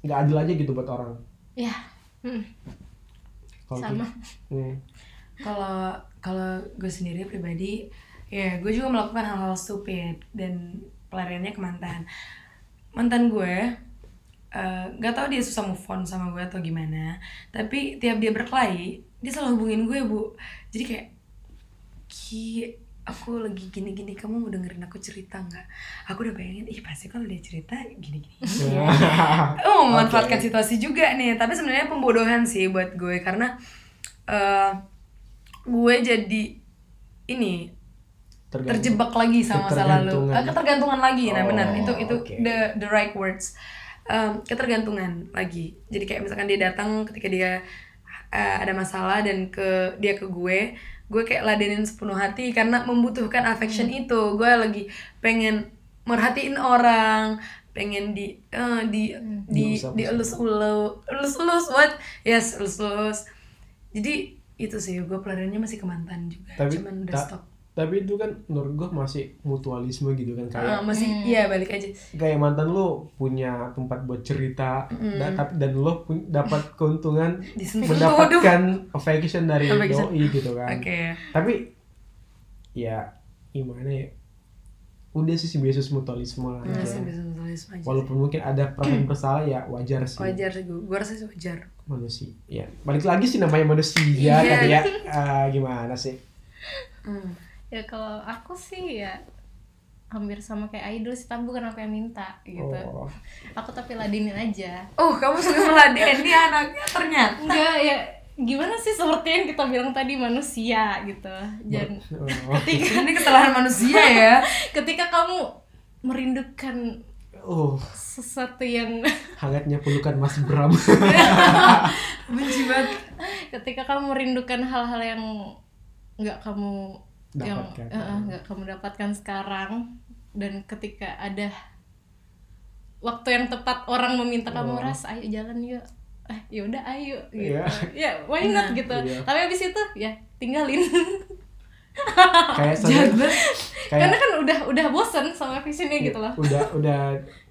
Speaker 1: nggak adil aja gitu buat orang
Speaker 3: iya Hmm.
Speaker 1: kalau
Speaker 3: Sama.
Speaker 1: gitu. Hmm.
Speaker 2: kalau kalau gue sendiri pribadi ya gue juga melakukan hal-hal stupid dan pelariannya ke mantan mantan gue eh, nggak tahu dia susah move on sama gue atau gimana tapi tiap dia berkelahi dia selalu hubungin gue bu jadi kayak Ki, aku lagi gini-gini, kamu mau dengerin aku cerita nggak? Aku udah bayangin, ih pasti kalau dia cerita gini-gini. Oh, memanfaatkan
Speaker 1: Oke.
Speaker 2: situasi juga nih, tapi sebenarnya pembodohan sih buat gue karena eh, gue jadi ini
Speaker 1: Tergantung.
Speaker 2: terjebak lagi sama masa lalu
Speaker 1: Ketergantungan.
Speaker 2: Eh, ketergantungan lagi nah
Speaker 1: Oh,
Speaker 2: benar itu itu
Speaker 1: oke.
Speaker 2: the the right words Um, ketergantungan lagi jadi kayak misalkan dia datang ketika dia eh, ada masalah dan ke dia ke gue gue kayak ladenin sepenuh hati karena membutuhkan affection
Speaker 1: Hmm.
Speaker 2: itu gue lagi pengen merhatiin orang pengen di eh, di
Speaker 1: Hmm.
Speaker 2: di
Speaker 1: Diusap-usap.
Speaker 2: di elus elus elus what yes elus elus jadi itu sih gue pelariannya masih ke mantan juga
Speaker 1: Tapi
Speaker 2: cuman udah
Speaker 1: tak-
Speaker 2: stop
Speaker 1: tapi itu kan menurut gue masih mutualisme gitu kan kayak
Speaker 2: Ah, masih iya balik aja
Speaker 1: kayak mantan lo punya tempat buat cerita da- tapi- dan lo pun dapat keuntungan
Speaker 2: Disentuh,
Speaker 1: mendapatkan affection dari
Speaker 2: Affection.
Speaker 1: doi gitu
Speaker 2: oke
Speaker 1: kan tapi ya gimana ya udah sih simbiosis mutualisme lah
Speaker 2: Nggak
Speaker 1: ya.
Speaker 2: sih, bisa-bisa Iya, aja sih.
Speaker 1: walaupun mungkin ada perasaan bersalah ya wajar sih
Speaker 2: wajar sih gue gue rasa sih wajar
Speaker 1: manusia ya balik lagi sih namanya manusia
Speaker 2: Iya.
Speaker 1: tapi ya eh, gimana sih
Speaker 2: Hmm.
Speaker 3: ya kalau aku sih ya hampir sama kayak idol sih tapi bukan aku yang minta gitu
Speaker 1: oh
Speaker 3: aku tapi ladenin aja
Speaker 2: oh kamu suka meladeni anaknya ternyata
Speaker 3: enggak ya gimana sih seperti yang kita bilang tadi manusia gitu dan
Speaker 1: oh,
Speaker 2: ini kesalahan manusia ya
Speaker 3: ketika kamu merindukan
Speaker 1: oh.
Speaker 3: sesuatu yang
Speaker 1: hangatnya pelukan Mas Bram
Speaker 2: benci banget
Speaker 3: ketika kamu merindukan hal-hal yang nggak kamu yang
Speaker 1: Dapatkan.
Speaker 3: eh, eh, nggak kamu dapatkan sekarang dan ketika ada waktu yang tepat orang meminta kamu
Speaker 1: Oh.
Speaker 3: ras ayo jalan yuk ah yaudah ayo gitu
Speaker 1: Iya.
Speaker 3: ya why not gitu
Speaker 1: Iya.
Speaker 3: tapi abis itu ya tinggalin
Speaker 1: kayak
Speaker 2: jahat
Speaker 1: sendiri
Speaker 2: banget.
Speaker 3: karena
Speaker 1: kayak
Speaker 3: kan udah udah bosen sama visionnya gitu loh
Speaker 1: udah udah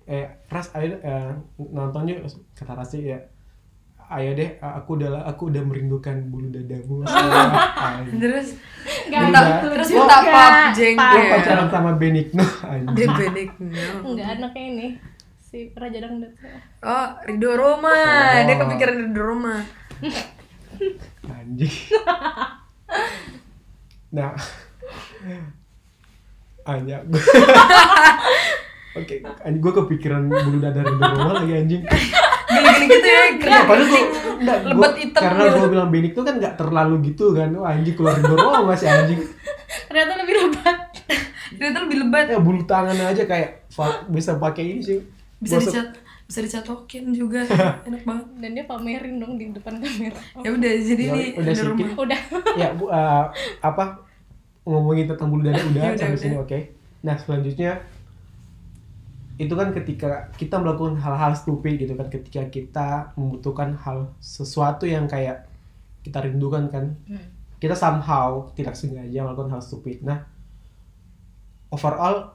Speaker 1: eh ras ayo eh, nonton yuk kata Rasi ya ayo deh aku udah aku udah merindukan bulu dadamu Ayo.
Speaker 2: terus
Speaker 1: Iya.
Speaker 3: Nggak
Speaker 1: Minta-
Speaker 3: gitu
Speaker 2: terus
Speaker 3: juga.
Speaker 2: minta pap
Speaker 1: Lo
Speaker 2: jenggot
Speaker 1: pacaran sama Benigno anjing.
Speaker 2: dia benigno
Speaker 3: nggak anaknya ini si Raja Dangdut
Speaker 2: oh Rido Roma
Speaker 1: Oh.
Speaker 2: dia kepikiran Rido Roma
Speaker 1: anjing nah Anya gue oke gue kepikiran bulu dada Rindu Roma lagi anjing
Speaker 2: gini-gini gitu ya
Speaker 1: Iya,
Speaker 2: kerja
Speaker 1: padahal gua, enggak, gua-
Speaker 2: Lebet hitam
Speaker 1: karena
Speaker 2: gitu.
Speaker 1: gue bilang benik tuh kan nggak terlalu gitu kan Wah, anjing keluar dorong masih anjing
Speaker 3: ternyata lebih lebat
Speaker 2: dia tuh lebih lebat
Speaker 1: ya bulu tangan aja kayak fa- bisa pakai ini sih
Speaker 2: bisa
Speaker 1: Gosok.
Speaker 2: dicat bisa dicatokin juga enak banget
Speaker 3: dan dia pamerin dong di depan kamera
Speaker 2: ya udah jadi
Speaker 1: Ya,
Speaker 2: ini
Speaker 1: udah
Speaker 2: Rido Roma
Speaker 1: sedikit.
Speaker 3: udah
Speaker 1: ya bu eh, apa ngomongin tentang bulu dada
Speaker 2: Ya
Speaker 1: udah
Speaker 2: udah,
Speaker 1: sampai sini
Speaker 2: udah.
Speaker 1: oke nah selanjutnya itu kan ketika kita melakukan hal-hal stupid gitu kan ketika kita membutuhkan hal sesuatu yang kayak kita rindukan kan
Speaker 2: Hmm.
Speaker 1: kita somehow tidak sengaja melakukan hal stupid nah overall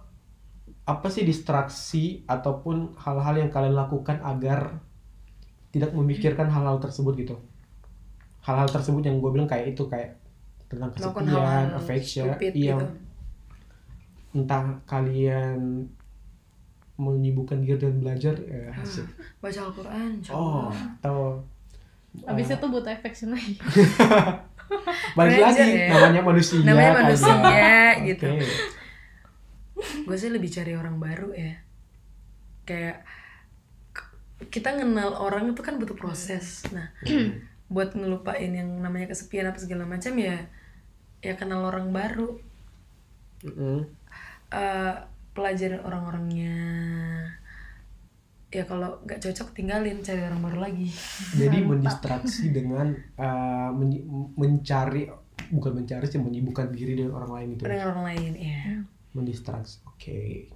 Speaker 1: apa sih distraksi ataupun hal-hal yang kalian lakukan agar tidak memikirkan hal-hal tersebut gitu hal-hal tersebut yang gue bilang kayak itu kayak tentang
Speaker 2: melakukan hal
Speaker 1: kesetiaan, affection,
Speaker 2: stupid
Speaker 1: iya,
Speaker 2: gitu
Speaker 1: entah kalian menyibukkan diri dan belajar ya
Speaker 2: Hmm,
Speaker 1: asik.
Speaker 2: baca Al-Quran
Speaker 1: oh atau
Speaker 3: abis itu butuh affection lagi
Speaker 1: balik
Speaker 2: Belajar
Speaker 1: lagi
Speaker 2: ya.
Speaker 1: namanya manusia
Speaker 2: Namanya
Speaker 1: kan, ya.
Speaker 2: manusia, gitu.
Speaker 1: Oke.
Speaker 2: gue sih lebih cari orang baru ya kayak k- kita kenal orang itu kan butuh proses nah buat ngelupain yang namanya kesepian apa segala macam ya ya kenal orang baru
Speaker 1: Mm-mm.
Speaker 2: Eh, pelajarin orang-orangnya ya kalau nggak cocok tinggalin cari orang baru lagi
Speaker 1: Jadi mendistraksi dengan eh, menyi- mencari bukan mencari sih menyibukkan diri dengan orang lain itu.
Speaker 2: dengan orang lain ya
Speaker 1: Mendistraksi. Oke.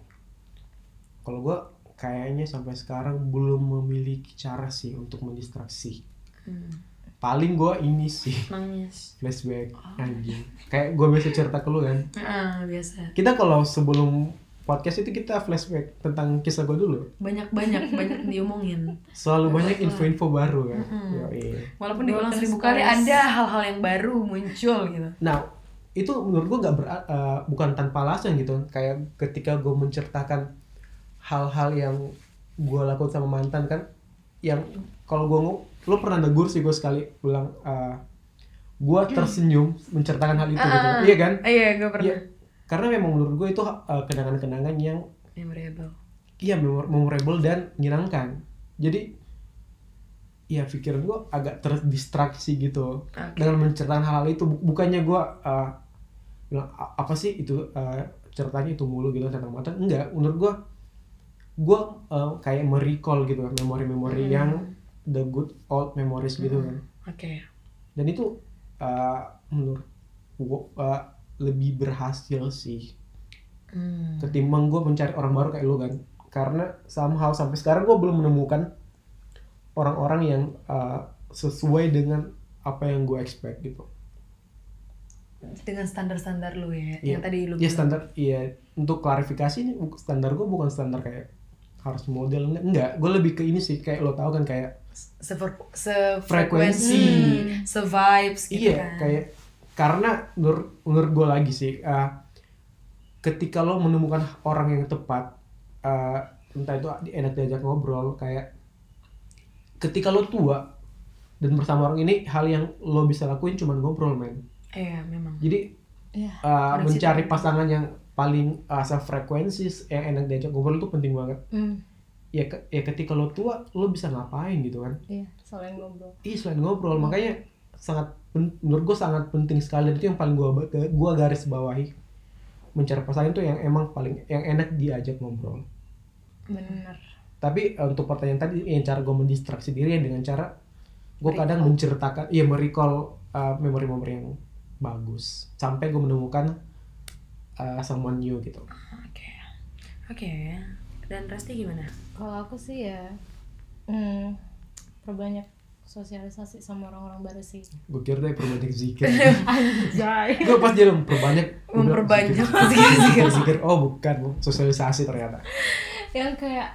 Speaker 1: Kalau gua kayaknya sampai sekarang belum memiliki cara sih untuk mendistraksi.
Speaker 2: Hmm,
Speaker 1: Paling gua ini sih
Speaker 2: nangis
Speaker 1: flashback anjing. Kayak gua biasa cerita ke lu kan.
Speaker 2: Ah, biasa
Speaker 1: Kita kalau sebelum podcast itu kita flashback tentang kisah gua dulu.
Speaker 2: banyak banyak banyak diomongin
Speaker 1: Selalu banyak info-info baru kan. Yoi.
Speaker 2: walaupun diulang
Speaker 3: Broken
Speaker 2: seribu kali
Speaker 3: spice.
Speaker 2: ada hal-hal yang baru muncul gitu
Speaker 1: Nah, itu menurut gue nggak bera- eh, bukan tanpa alasan gitu. Kayak ketika gue menceritakan hal-hal yang gue lakukan sama mantan kan, yang kalau gue ngomong, lo pernah negur sih gue sekali bilang, eh, gue tersenyum menceritakan hal itu gitu. Iya kan?
Speaker 2: Hmm. Ah, iya gue pernah
Speaker 1: Iya. Karena memang menurut gue itu eh, kenangan-kenangan yang
Speaker 2: memorable
Speaker 1: iya memor- memorable dan menyenangkan. Jadi ya pikiran gue agak terdistraksi gitu
Speaker 2: Oke.
Speaker 1: dengan menceritakan hal-hal itu Bu- bukannya gue eh, bilang "A- apa sih itu eh, ceritanya itu mulu gitu tentang mata enggak menurut gue gue eh, kayak merecall gitu kan memori-memori
Speaker 2: Hmm.
Speaker 1: yang the good old memories gitu kan
Speaker 2: Oke.
Speaker 1: dan itu eh, menurut gue lebih berhasil sih
Speaker 2: Hmm.
Speaker 1: ketimbang gue mencari orang baru kayak lu kan karena somehow sampai sekarang gue belum menemukan orang-orang yang uh, sesuai dengan apa yang gue expect gitu
Speaker 2: Dengan standar-standar lu
Speaker 1: Iya.
Speaker 2: ya, yang tadi lu
Speaker 1: ya
Speaker 2: bilang.
Speaker 1: standar iya untuk klarifikasi ini bu- standar gue bukan standar kayak harus model enggak, enggak. gue lebih ke ini sih kayak lo tau kan kayak
Speaker 2: Sefre-
Speaker 1: Frekuensi.
Speaker 2: sefrekuensi, sevibes gitu
Speaker 1: iya
Speaker 2: kan.
Speaker 1: kayak karena menurut menurut gue lagi sih uh, ketika lo menemukan orang yang tepat uh, entah itu enak diajak ngobrol kayak ketika lo tua dan bersama orang ini hal yang lo bisa lakuin cuman ngobrol men
Speaker 2: Iya, memang.
Speaker 1: jadi
Speaker 3: Iya.
Speaker 1: uh,
Speaker 2: Koneksi
Speaker 1: mencari
Speaker 2: itu.
Speaker 1: pasangan yang paling uh, sefrekuensi yang enak diajak ngobrol itu penting banget
Speaker 3: Hmm,
Speaker 1: ya ke- ya ketika lo tua lo bisa ngapain gitu kan
Speaker 3: iya, soalnya ngobrol.
Speaker 1: ih selain ngobrol makanya sangat pen- menurut gue sangat penting sekali dan itu yang paling gue gua garis bawahi mencari pasangan itu yang emang paling yang enak diajak ngobrol
Speaker 3: Bener.
Speaker 1: tapi eh, untuk pertanyaan tadi yang cara gue mendistraksi diri ya dengan cara gue
Speaker 3: Recall.
Speaker 1: kadang menceritakan ya merecall eh, memori-memori yang bagus sampai gue menemukan eh, someone new gitu
Speaker 2: Oke. Oke. Dan Rasti gimana?
Speaker 3: Kalau aku sih ya, hmm, perbanyak sosialisasi sama orang-orang baru sih.
Speaker 1: gue kira deh perbanyak zikir
Speaker 3: Anjay.
Speaker 1: gue pas dia memperbanyak gua bilang,
Speaker 2: Memperbanyak
Speaker 1: zikir, zikir, zikir. oh bukan sosialisasi ternyata
Speaker 3: yang kayak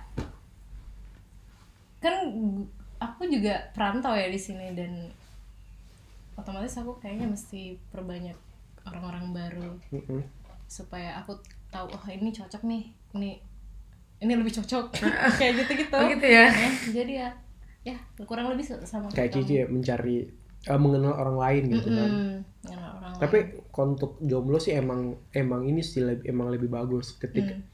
Speaker 3: kan gu- aku juga perantau ya di sini dan otomatis aku kayaknya mesti perbanyak orang-orang baru
Speaker 1: Mm-mm.
Speaker 3: supaya aku tahu oh ini cocok nih ini ini lebih cocok kayak gitu gitu
Speaker 2: Oh gitu ya.
Speaker 3: jadi ya ya kurang lebih sama
Speaker 1: kayak
Speaker 3: kamu.
Speaker 1: Kiki ya, mencari eh, mengenal orang lain gitu kan
Speaker 3: Mm-mm, dengan orang
Speaker 1: tapi
Speaker 3: lain.
Speaker 1: kalau untuk jomblo sih emang emang ini sih lebih, emang lebih bagus ketika
Speaker 3: Hmm.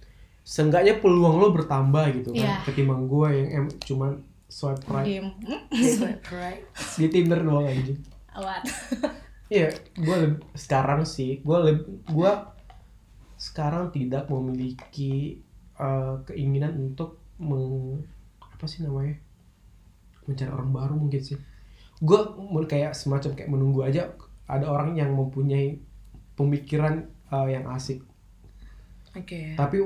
Speaker 1: seenggaknya peluang lo bertambah gitu kan
Speaker 3: Iya.
Speaker 1: ketimbang gue yang em, cuman swipe right
Speaker 3: Diem. Hmm,
Speaker 2: Swipe right.
Speaker 1: di Tinder doang aja
Speaker 3: awat
Speaker 1: iya gue leb- sekarang sih gue gue sekarang tidak memiliki eh, keinginan untuk meng apa sih namanya mencari orang baru mungkin sih gue kayak semacam kayak menunggu aja ada orang yang mempunyai pemikiran eh, yang asik
Speaker 2: Oke.
Speaker 1: tapi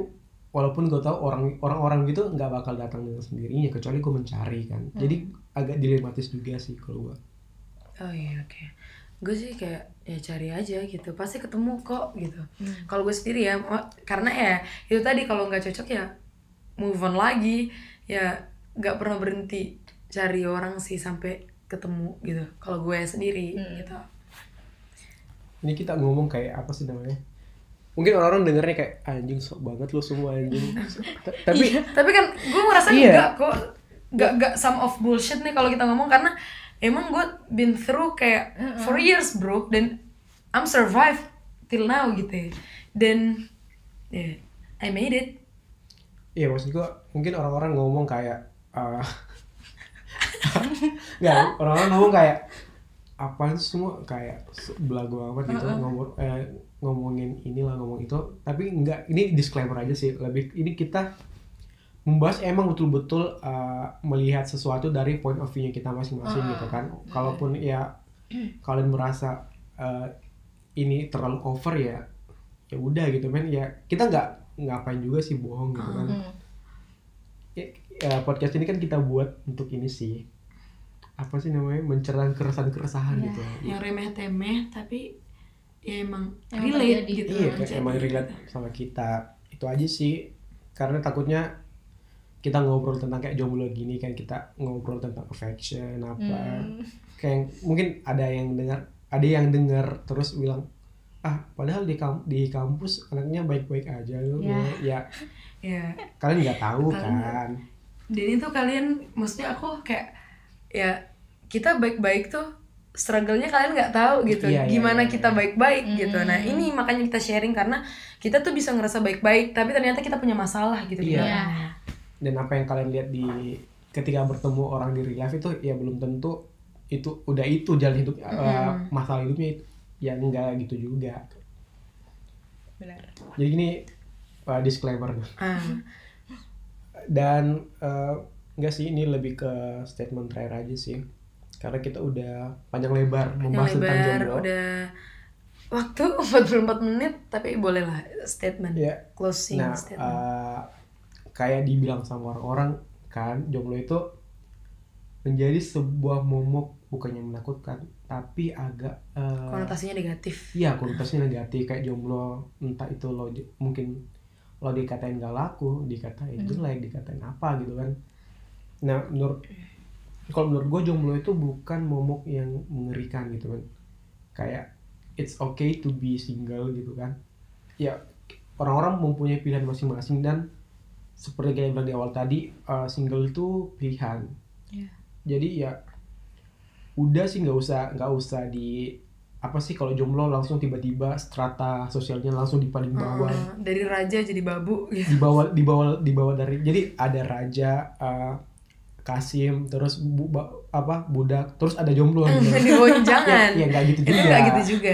Speaker 1: walaupun gue tahu orang orang-orang gitu nggak bakal datang dengan sendirinya kecuali gue mencari kan jadi agak dilematis juga sih kalau gue
Speaker 2: Oh iya, oke. Gue sih kayak ya cari aja gitu. Pasti ketemu kok gitu.
Speaker 3: Hmm.
Speaker 2: Kalau gue sendiri ya mo- karena ya itu tadi kalau nggak cocok ya move on lagi. Ya nggak pernah berhenti cari orang sih sampai ketemu gitu. Kalau gue sendiri
Speaker 3: Hmm.
Speaker 2: gitu.
Speaker 1: ini kita ngomong kayak apa sih namanya mungkin orang-orang dengernya kayak anjing sok banget lo semua anjing Ta- tapi
Speaker 2: tapi kan gue ngerasa
Speaker 1: Iya.
Speaker 2: enggak kok enggak enggak some of bullshit nih kalau kita ngomong karena emang gue been through kayak for years bro dan I'm survive till now gitu ya. dan yeah, I made it
Speaker 1: iya maksud gua mungkin orang-orang ngomong kayak eh, nggak orang-orang ngomong kayak apaan sih semua kayak se- belagu amat gitu ngomong eh, ngomongin inilah ngomong itu tapi nggak ini disclaimer aja sih lebih ini kita membahas emang betul-betul eh, melihat sesuatu dari point of view-nya kita masing-masing
Speaker 3: Ah,
Speaker 1: gitu kan kalaupun ya kalian merasa eh, ini terlalu over ya ya udah gitu men ya kita nggak ngapain juga sih bohong gitu kan
Speaker 3: Hmm.
Speaker 1: Ya, ya, podcast ini kan kita buat untuk ini sih apa sih namanya mencerang keresahan keresahan
Speaker 3: Iya.
Speaker 1: gitu
Speaker 2: yang remeh temeh tapi ya emang
Speaker 3: Emang
Speaker 2: relate
Speaker 3: terjadi.
Speaker 2: gitu
Speaker 1: iya
Speaker 2: loh,
Speaker 1: kan
Speaker 2: jadi.
Speaker 1: emang relate sama kita itu aja sih karena takutnya kita ngobrol tentang kayak jomblo gini kan kita ngobrol tentang affection apa
Speaker 3: Hmm.
Speaker 1: kayak mungkin ada yang dengar ada yang dengar terus bilang ah padahal di kam- di kampus anaknya baik-baik aja lu
Speaker 3: Ya.
Speaker 1: ya
Speaker 2: ya
Speaker 1: kalian nggak tahu
Speaker 2: Tahu.
Speaker 1: kan
Speaker 2: dan itu kalian maksudnya aku kayak ya kita baik-baik tuh struggle-nya kalian nggak tahu gitu
Speaker 1: Iya, iya,
Speaker 2: gimana
Speaker 1: iya,
Speaker 2: kita
Speaker 1: iya.
Speaker 2: baik-baik
Speaker 3: Mm.
Speaker 2: gitu nah ini makanya kita sharing karena kita tuh bisa ngerasa baik-baik tapi ternyata kita punya masalah gitu di
Speaker 1: Iya.
Speaker 2: belakangnya.
Speaker 1: dan apa yang kalian lihat di ketika bertemu orang di real life itu ya belum tentu itu udah itu jalan hidup eh,
Speaker 2: Mm-mm.
Speaker 1: masalah hidupnya itu ya enggak gitu juga
Speaker 3: benar
Speaker 1: jadi ini eh, disclaimer
Speaker 2: Ah,
Speaker 1: dan eh, enggak sih ini lebih ke statement terakhir aja sih karena kita udah panjang lebar
Speaker 2: yang
Speaker 1: membahas tentang
Speaker 2: lebar
Speaker 1: jomblo
Speaker 2: udah waktu 44 menit tapi bolehlah statement
Speaker 1: ya
Speaker 2: closing
Speaker 1: nah
Speaker 2: statement.
Speaker 1: eh, kayak dibilang sama orang-orang kan jomblo itu menjadi sebuah momok bukannya menakutkan tapi agak eh,
Speaker 2: Konotasinya negatif.
Speaker 1: Iya, konotasinya negatif kayak jomblo entah itu lo j- mungkin lo dikatain gak laku, dikatain
Speaker 3: Hmm.
Speaker 1: jelek, dikatain apa gitu kan. Nah, menurut kalau menurut gue jomblo itu bukan momok yang mengerikan gitu kan. Kayak it's okay to be single gitu kan. Ya orang-orang mempunyai pilihan masing-masing dan seperti kayak yang bilang di awal tadi eh, single itu pilihan.
Speaker 3: Iya.
Speaker 1: Jadi ya udah sih nggak usah nggak usah di apa sih kalau jomblo langsung tiba-tiba strata sosialnya langsung di paling bawah
Speaker 2: Eh, dari raja jadi babu gitu.
Speaker 1: di bawah di bawah di bawah dari jadi ada raja eh, Kasim terus bu- ba- apa budak terus ada jomblo gitu.
Speaker 2: di bawah Hmm, jangan.
Speaker 1: ya nggak gitu
Speaker 2: Itu
Speaker 1: juga
Speaker 2: nggak gitu juga.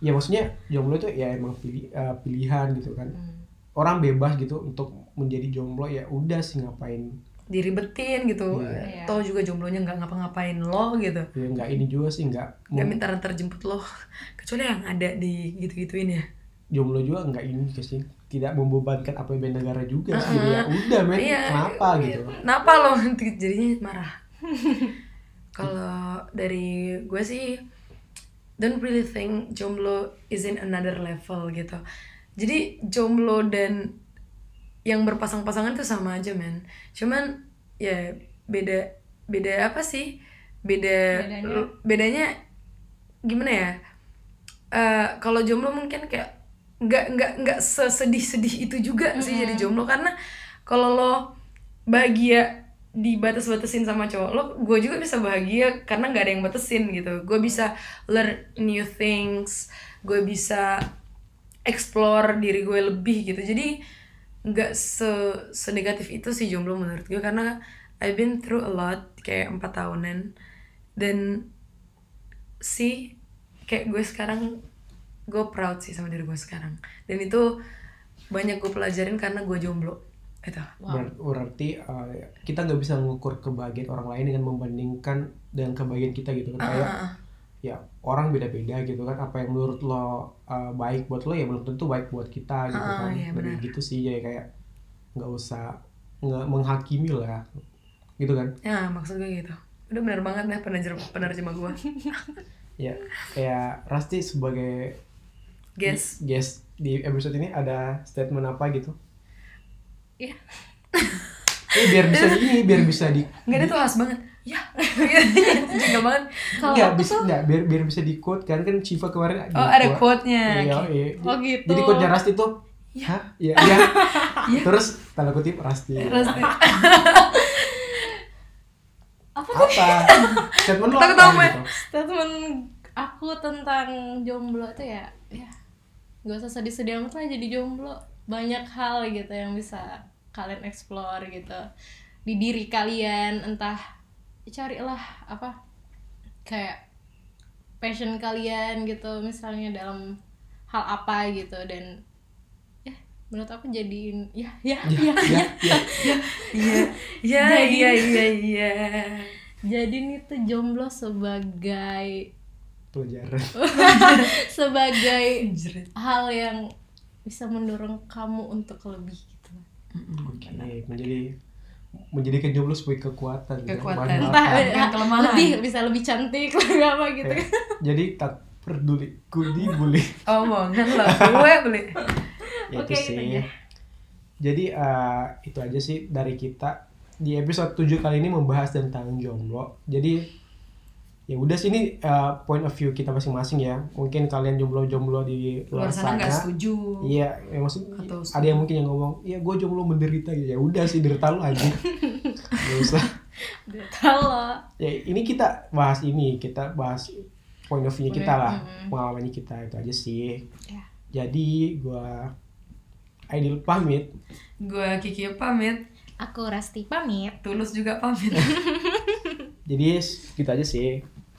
Speaker 1: ya maksudnya jomblo itu ya emang pilih- eh, pilihan gitu kan
Speaker 2: Hmm.
Speaker 1: orang bebas gitu untuk menjadi jomblo ya udah sih ngapain
Speaker 2: Diribetin gitu.
Speaker 1: Iya.
Speaker 2: Toh juga jomblonya nggak ngapa-ngapain lo gitu.
Speaker 1: ya nggak ini juga sih nggak
Speaker 2: Nggak minta antar jemput lo. Kecuali yang ada di gitu-gituin ya.
Speaker 1: jomblo juga nggak ini sih tidak membebankan APBN negara juga sih
Speaker 2: Uh-uh.
Speaker 1: jadi ya udah men
Speaker 2: Iya.
Speaker 1: kenapa gitu
Speaker 2: Kenapa lo jadinya marah? Kalau dari gue sih don't really think jomblo is in another level gitu. Jadi jomblo dan yang berpasang-pasangan tuh sama aja men. Cuman ya beda beda apa sih? Beda
Speaker 3: Bedanya?
Speaker 2: bedanya gimana ya? Eh, kalau jomblo mungkin kayak nggak nggak nggak sesedih-sedih itu juga sih jadi jomblo karena kalau lo bahagia dibatas-batasin sama cowok lo gue juga bisa bahagia karena nggak ada yang batasin gitu gue bisa learn new things gue bisa explore diri gue lebih gitu jadi nggak se senegatif itu sih jomblo menurut gue karena I've been through a lot kayak empat tahunan dan sih kayak gue sekarang gue proud sih sama diri gue sekarang dan itu banyak gue pelajarin karena gue jomblo gitu. Ah, itu
Speaker 3: wow
Speaker 1: Ber- berarti uh, kita nggak bisa mengukur kebahagiaan orang lain dengan membandingkan dengan kebahagiaan kita gitu
Speaker 2: Ah,
Speaker 1: kan kayak ya orang beda-beda gitu kan apa yang menurut lo uh, baik buat lo ya belum tentu baik buat kita gitu
Speaker 2: Ah,
Speaker 1: kan
Speaker 2: iya,
Speaker 1: lebih
Speaker 2: benar.
Speaker 1: gitu sih jadi kayak nggak usah nggak menghakimi lah gitu kan
Speaker 2: ya maksud gue gitu udah bener banget nih penerjem- penerjemah gue
Speaker 1: ya kayak Rasti sebagai
Speaker 2: guess
Speaker 1: guest di episode ini ada statement apa gitu
Speaker 3: Iya.
Speaker 1: Eh, biar bisa ini biar bisa di
Speaker 2: nggak ada tuh khas banget ya juga banget
Speaker 3: kalau
Speaker 1: Nggak,
Speaker 3: aku
Speaker 1: bis-
Speaker 3: tuh
Speaker 1: nggak, biar biar bisa di quote kan kan Civa kemarin
Speaker 2: oh ada
Speaker 1: quote.
Speaker 2: quote nya
Speaker 1: Iya, iya.
Speaker 3: Oh, gitu.
Speaker 1: Jadi quote-nya Rasti tuh ya, ya, ya. Terus tanda kutip Rasti.
Speaker 2: terus
Speaker 3: apa tuh
Speaker 1: Apa? Statement lo
Speaker 2: Kita
Speaker 1: apa
Speaker 2: ketahuan.
Speaker 1: gitu?
Speaker 3: ya? temen aku tentang jomblo tuh ya ya gak usah sedih-sedih amat lah jadi jomblo banyak hal gitu yang bisa kalian explore gitu di diri kalian entah carilah apa kayak passion kalian gitu misalnya dalam hal apa gitu dan ya menurut aku jadiin ya ya
Speaker 1: Ya,
Speaker 3: ya,
Speaker 1: ya, ya.
Speaker 2: iya iya
Speaker 3: Jadi-
Speaker 2: iya iya iya
Speaker 3: jadiin itu jomblo sebagai
Speaker 1: Pelajaran.
Speaker 3: sebagai
Speaker 2: Anjrit.
Speaker 3: hal yang bisa mendorong kamu untuk lebih gitu
Speaker 1: Oke, menjadi menjadi kejomblo sebagai kekuatan. ya.
Speaker 2: Kekuatan.
Speaker 1: Mohon maaf.
Speaker 3: entah
Speaker 2: Bukan
Speaker 3: eh,
Speaker 2: kelemahan.
Speaker 3: lebih bisa lebih cantik lebih apa gitu
Speaker 1: Ya. Jadi tak peduli ku dibully.
Speaker 2: omongan lo gue beli
Speaker 1: Ya,
Speaker 3: Oke,
Speaker 1: itu
Speaker 3: gitu
Speaker 1: sih.
Speaker 3: aja.
Speaker 1: Jadi eh, itu aja sih dari kita di episode 7 kali ini membahas tentang jomblo. Jadi ya udah sih ini eh, point of view kita masing-masing ya. Mungkin kalian jomblo-jomblo di
Speaker 2: luar sana nggak setuju
Speaker 1: Iya, ya maksud
Speaker 2: Atau
Speaker 1: ada yang mungkin yang ngomong, "Iya, gue jomblo menderita." gitu. Ya udah sih derita lu aja. Gak usah.
Speaker 3: kalau
Speaker 1: Ya ini kita bahas ini, kita bahas point of view kita lah,
Speaker 3: Mm-mm.
Speaker 1: pengalamannya kita itu aja sih.
Speaker 3: Ya.
Speaker 1: Jadi gua Aidil pamit.
Speaker 2: gue Kiki pamit
Speaker 3: Aku Rasti pamit.
Speaker 2: Tulus juga pamit.
Speaker 1: gitu Jadi segitu aja sih.